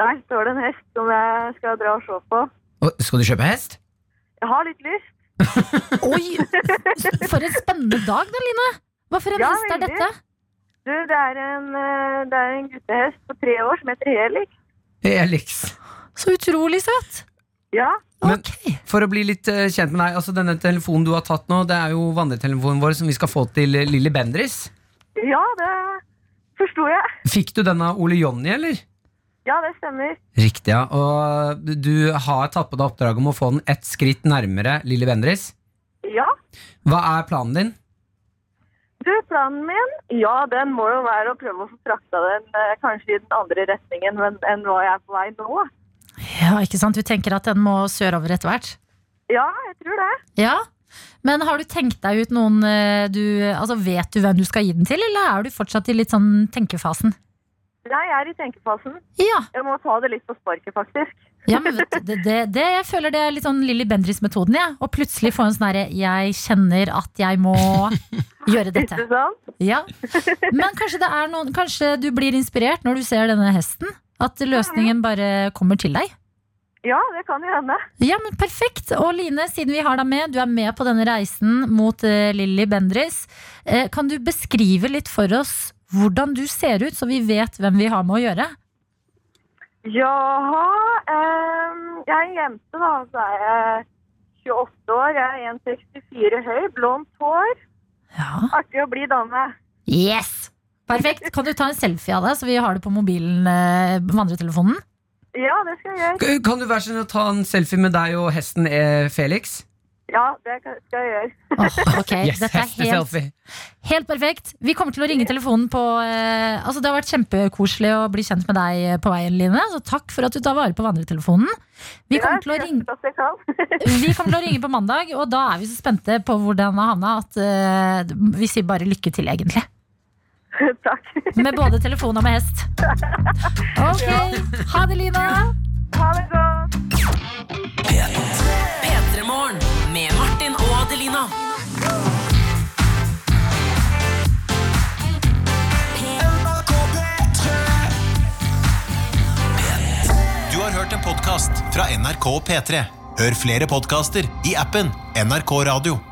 Speaker 11: Der står det en hest som jeg skal dra og se på.
Speaker 3: Og, skal du kjøpe hest?
Speaker 11: Jeg har litt lyst.
Speaker 2: Oi, for en spennende dag da, Line! Hva for en
Speaker 11: Ja,
Speaker 2: hest er
Speaker 11: veldig.
Speaker 2: dette?
Speaker 11: Du, det er en, eh, det er en guttehest på tre år som heter Helik.
Speaker 3: Elix.
Speaker 2: Så utrolig søt!
Speaker 11: Ja.
Speaker 3: Men-
Speaker 2: Ok,
Speaker 3: For å bli litt eh, kjent med deg, altså denne telefonen du har tatt nå, det er jo vandretelefonen vår som vi skal få til eh, Lilly Bendriss.
Speaker 11: Ja, det forsto jeg.
Speaker 3: Fikk du den av Ole Jonny, eller?
Speaker 11: Ja, det stemmer.
Speaker 3: Riktig, ja. Og du har tatt på deg oppdraget om å få den ett skritt nærmere Lilly Bendriss.
Speaker 11: Ja.
Speaker 3: Hva er planen din?
Speaker 11: Du, planen min? Ja, den må jo være å prøve å få frakta den eh, kanskje i den andre retningen men, enn hva jeg er på vei nå.
Speaker 2: ja, ikke sant? Du tenker at den må sørover etter hvert?
Speaker 11: Ja, jeg tror det.
Speaker 2: Ja, men har du tenkt deg ut noen eh, du, altså Vet du hvem du skal gi den til, eller er du fortsatt i litt sånn tenkefasen?
Speaker 11: Nei, jeg er i tenkefasen.
Speaker 2: Ja,
Speaker 11: Jeg må ta det litt på sparket, faktisk.
Speaker 2: ja men vet du, det, det, det, jeg føler det er litt sånn Lilly Bendriss-metoden. Ja. Og plutselig få en sånn herre 'jeg kjenner at jeg må gjøre
Speaker 11: Ikke
Speaker 2: dette'.
Speaker 11: sant?
Speaker 2: Ja. Men kanskje, det er noen, kanskje du blir inspirert når du ser denne hesten? At løsningen bare kommer til deg?
Speaker 11: Ja, det kan jo hende.
Speaker 2: Ja, men Perfekt. Og Line, siden vi har deg med, du er med på denne reisen mot uh, Lilly Bendriss. Eh, kan du beskrive litt for oss hvordan du ser ut, så vi vet hvem vi har med å gjøre?
Speaker 11: Jaha ehm, Jeg er en jente, da. Så er jeg 28 år. Jeg er 1,64 høy, blondt hår.
Speaker 2: Ja.
Speaker 11: Artig å bli dame.
Speaker 2: Yes! Perfekt. Kan du ta en selfie av deg, så vi har det på mobilen, eh, vandretelefonen?
Speaker 11: Ja, det skal jeg gjøre.
Speaker 3: K- Kan du være så snill å ta en selfie med deg og hesten eh, Felix?
Speaker 11: Ja, det kan- skal jeg gjøre.
Speaker 2: Åh, ok,
Speaker 3: Yes,
Speaker 2: Eh, Dette er helt,
Speaker 3: hesteselfie.
Speaker 2: helt perfekt. Vi kommer til å ringe telefonen på eh, Altså, Det har vært kjempekoselig å bli kjent med deg eh, på veien, Line. Så takk for at du tar vare på vandretelefonen. Vi kommer til å
Speaker 11: Jeg
Speaker 2: ringe
Speaker 11: skal gjøre så godt jeg kan.
Speaker 2: Vi kommer til å ringe på mandag, og da er vi så spente på hvor den har havna at eh, vi sier bare lykke til, egentlig.
Speaker 11: Takk.
Speaker 2: Med både telefon og med hest. Ok, ha det, Lina.
Speaker 11: Ha det godt.
Speaker 6: P3morgen med Martin og Adelina.
Speaker 1: Du har hørt en podcast fra NRK P3. Hør flere podcaster i appen NRK Radio.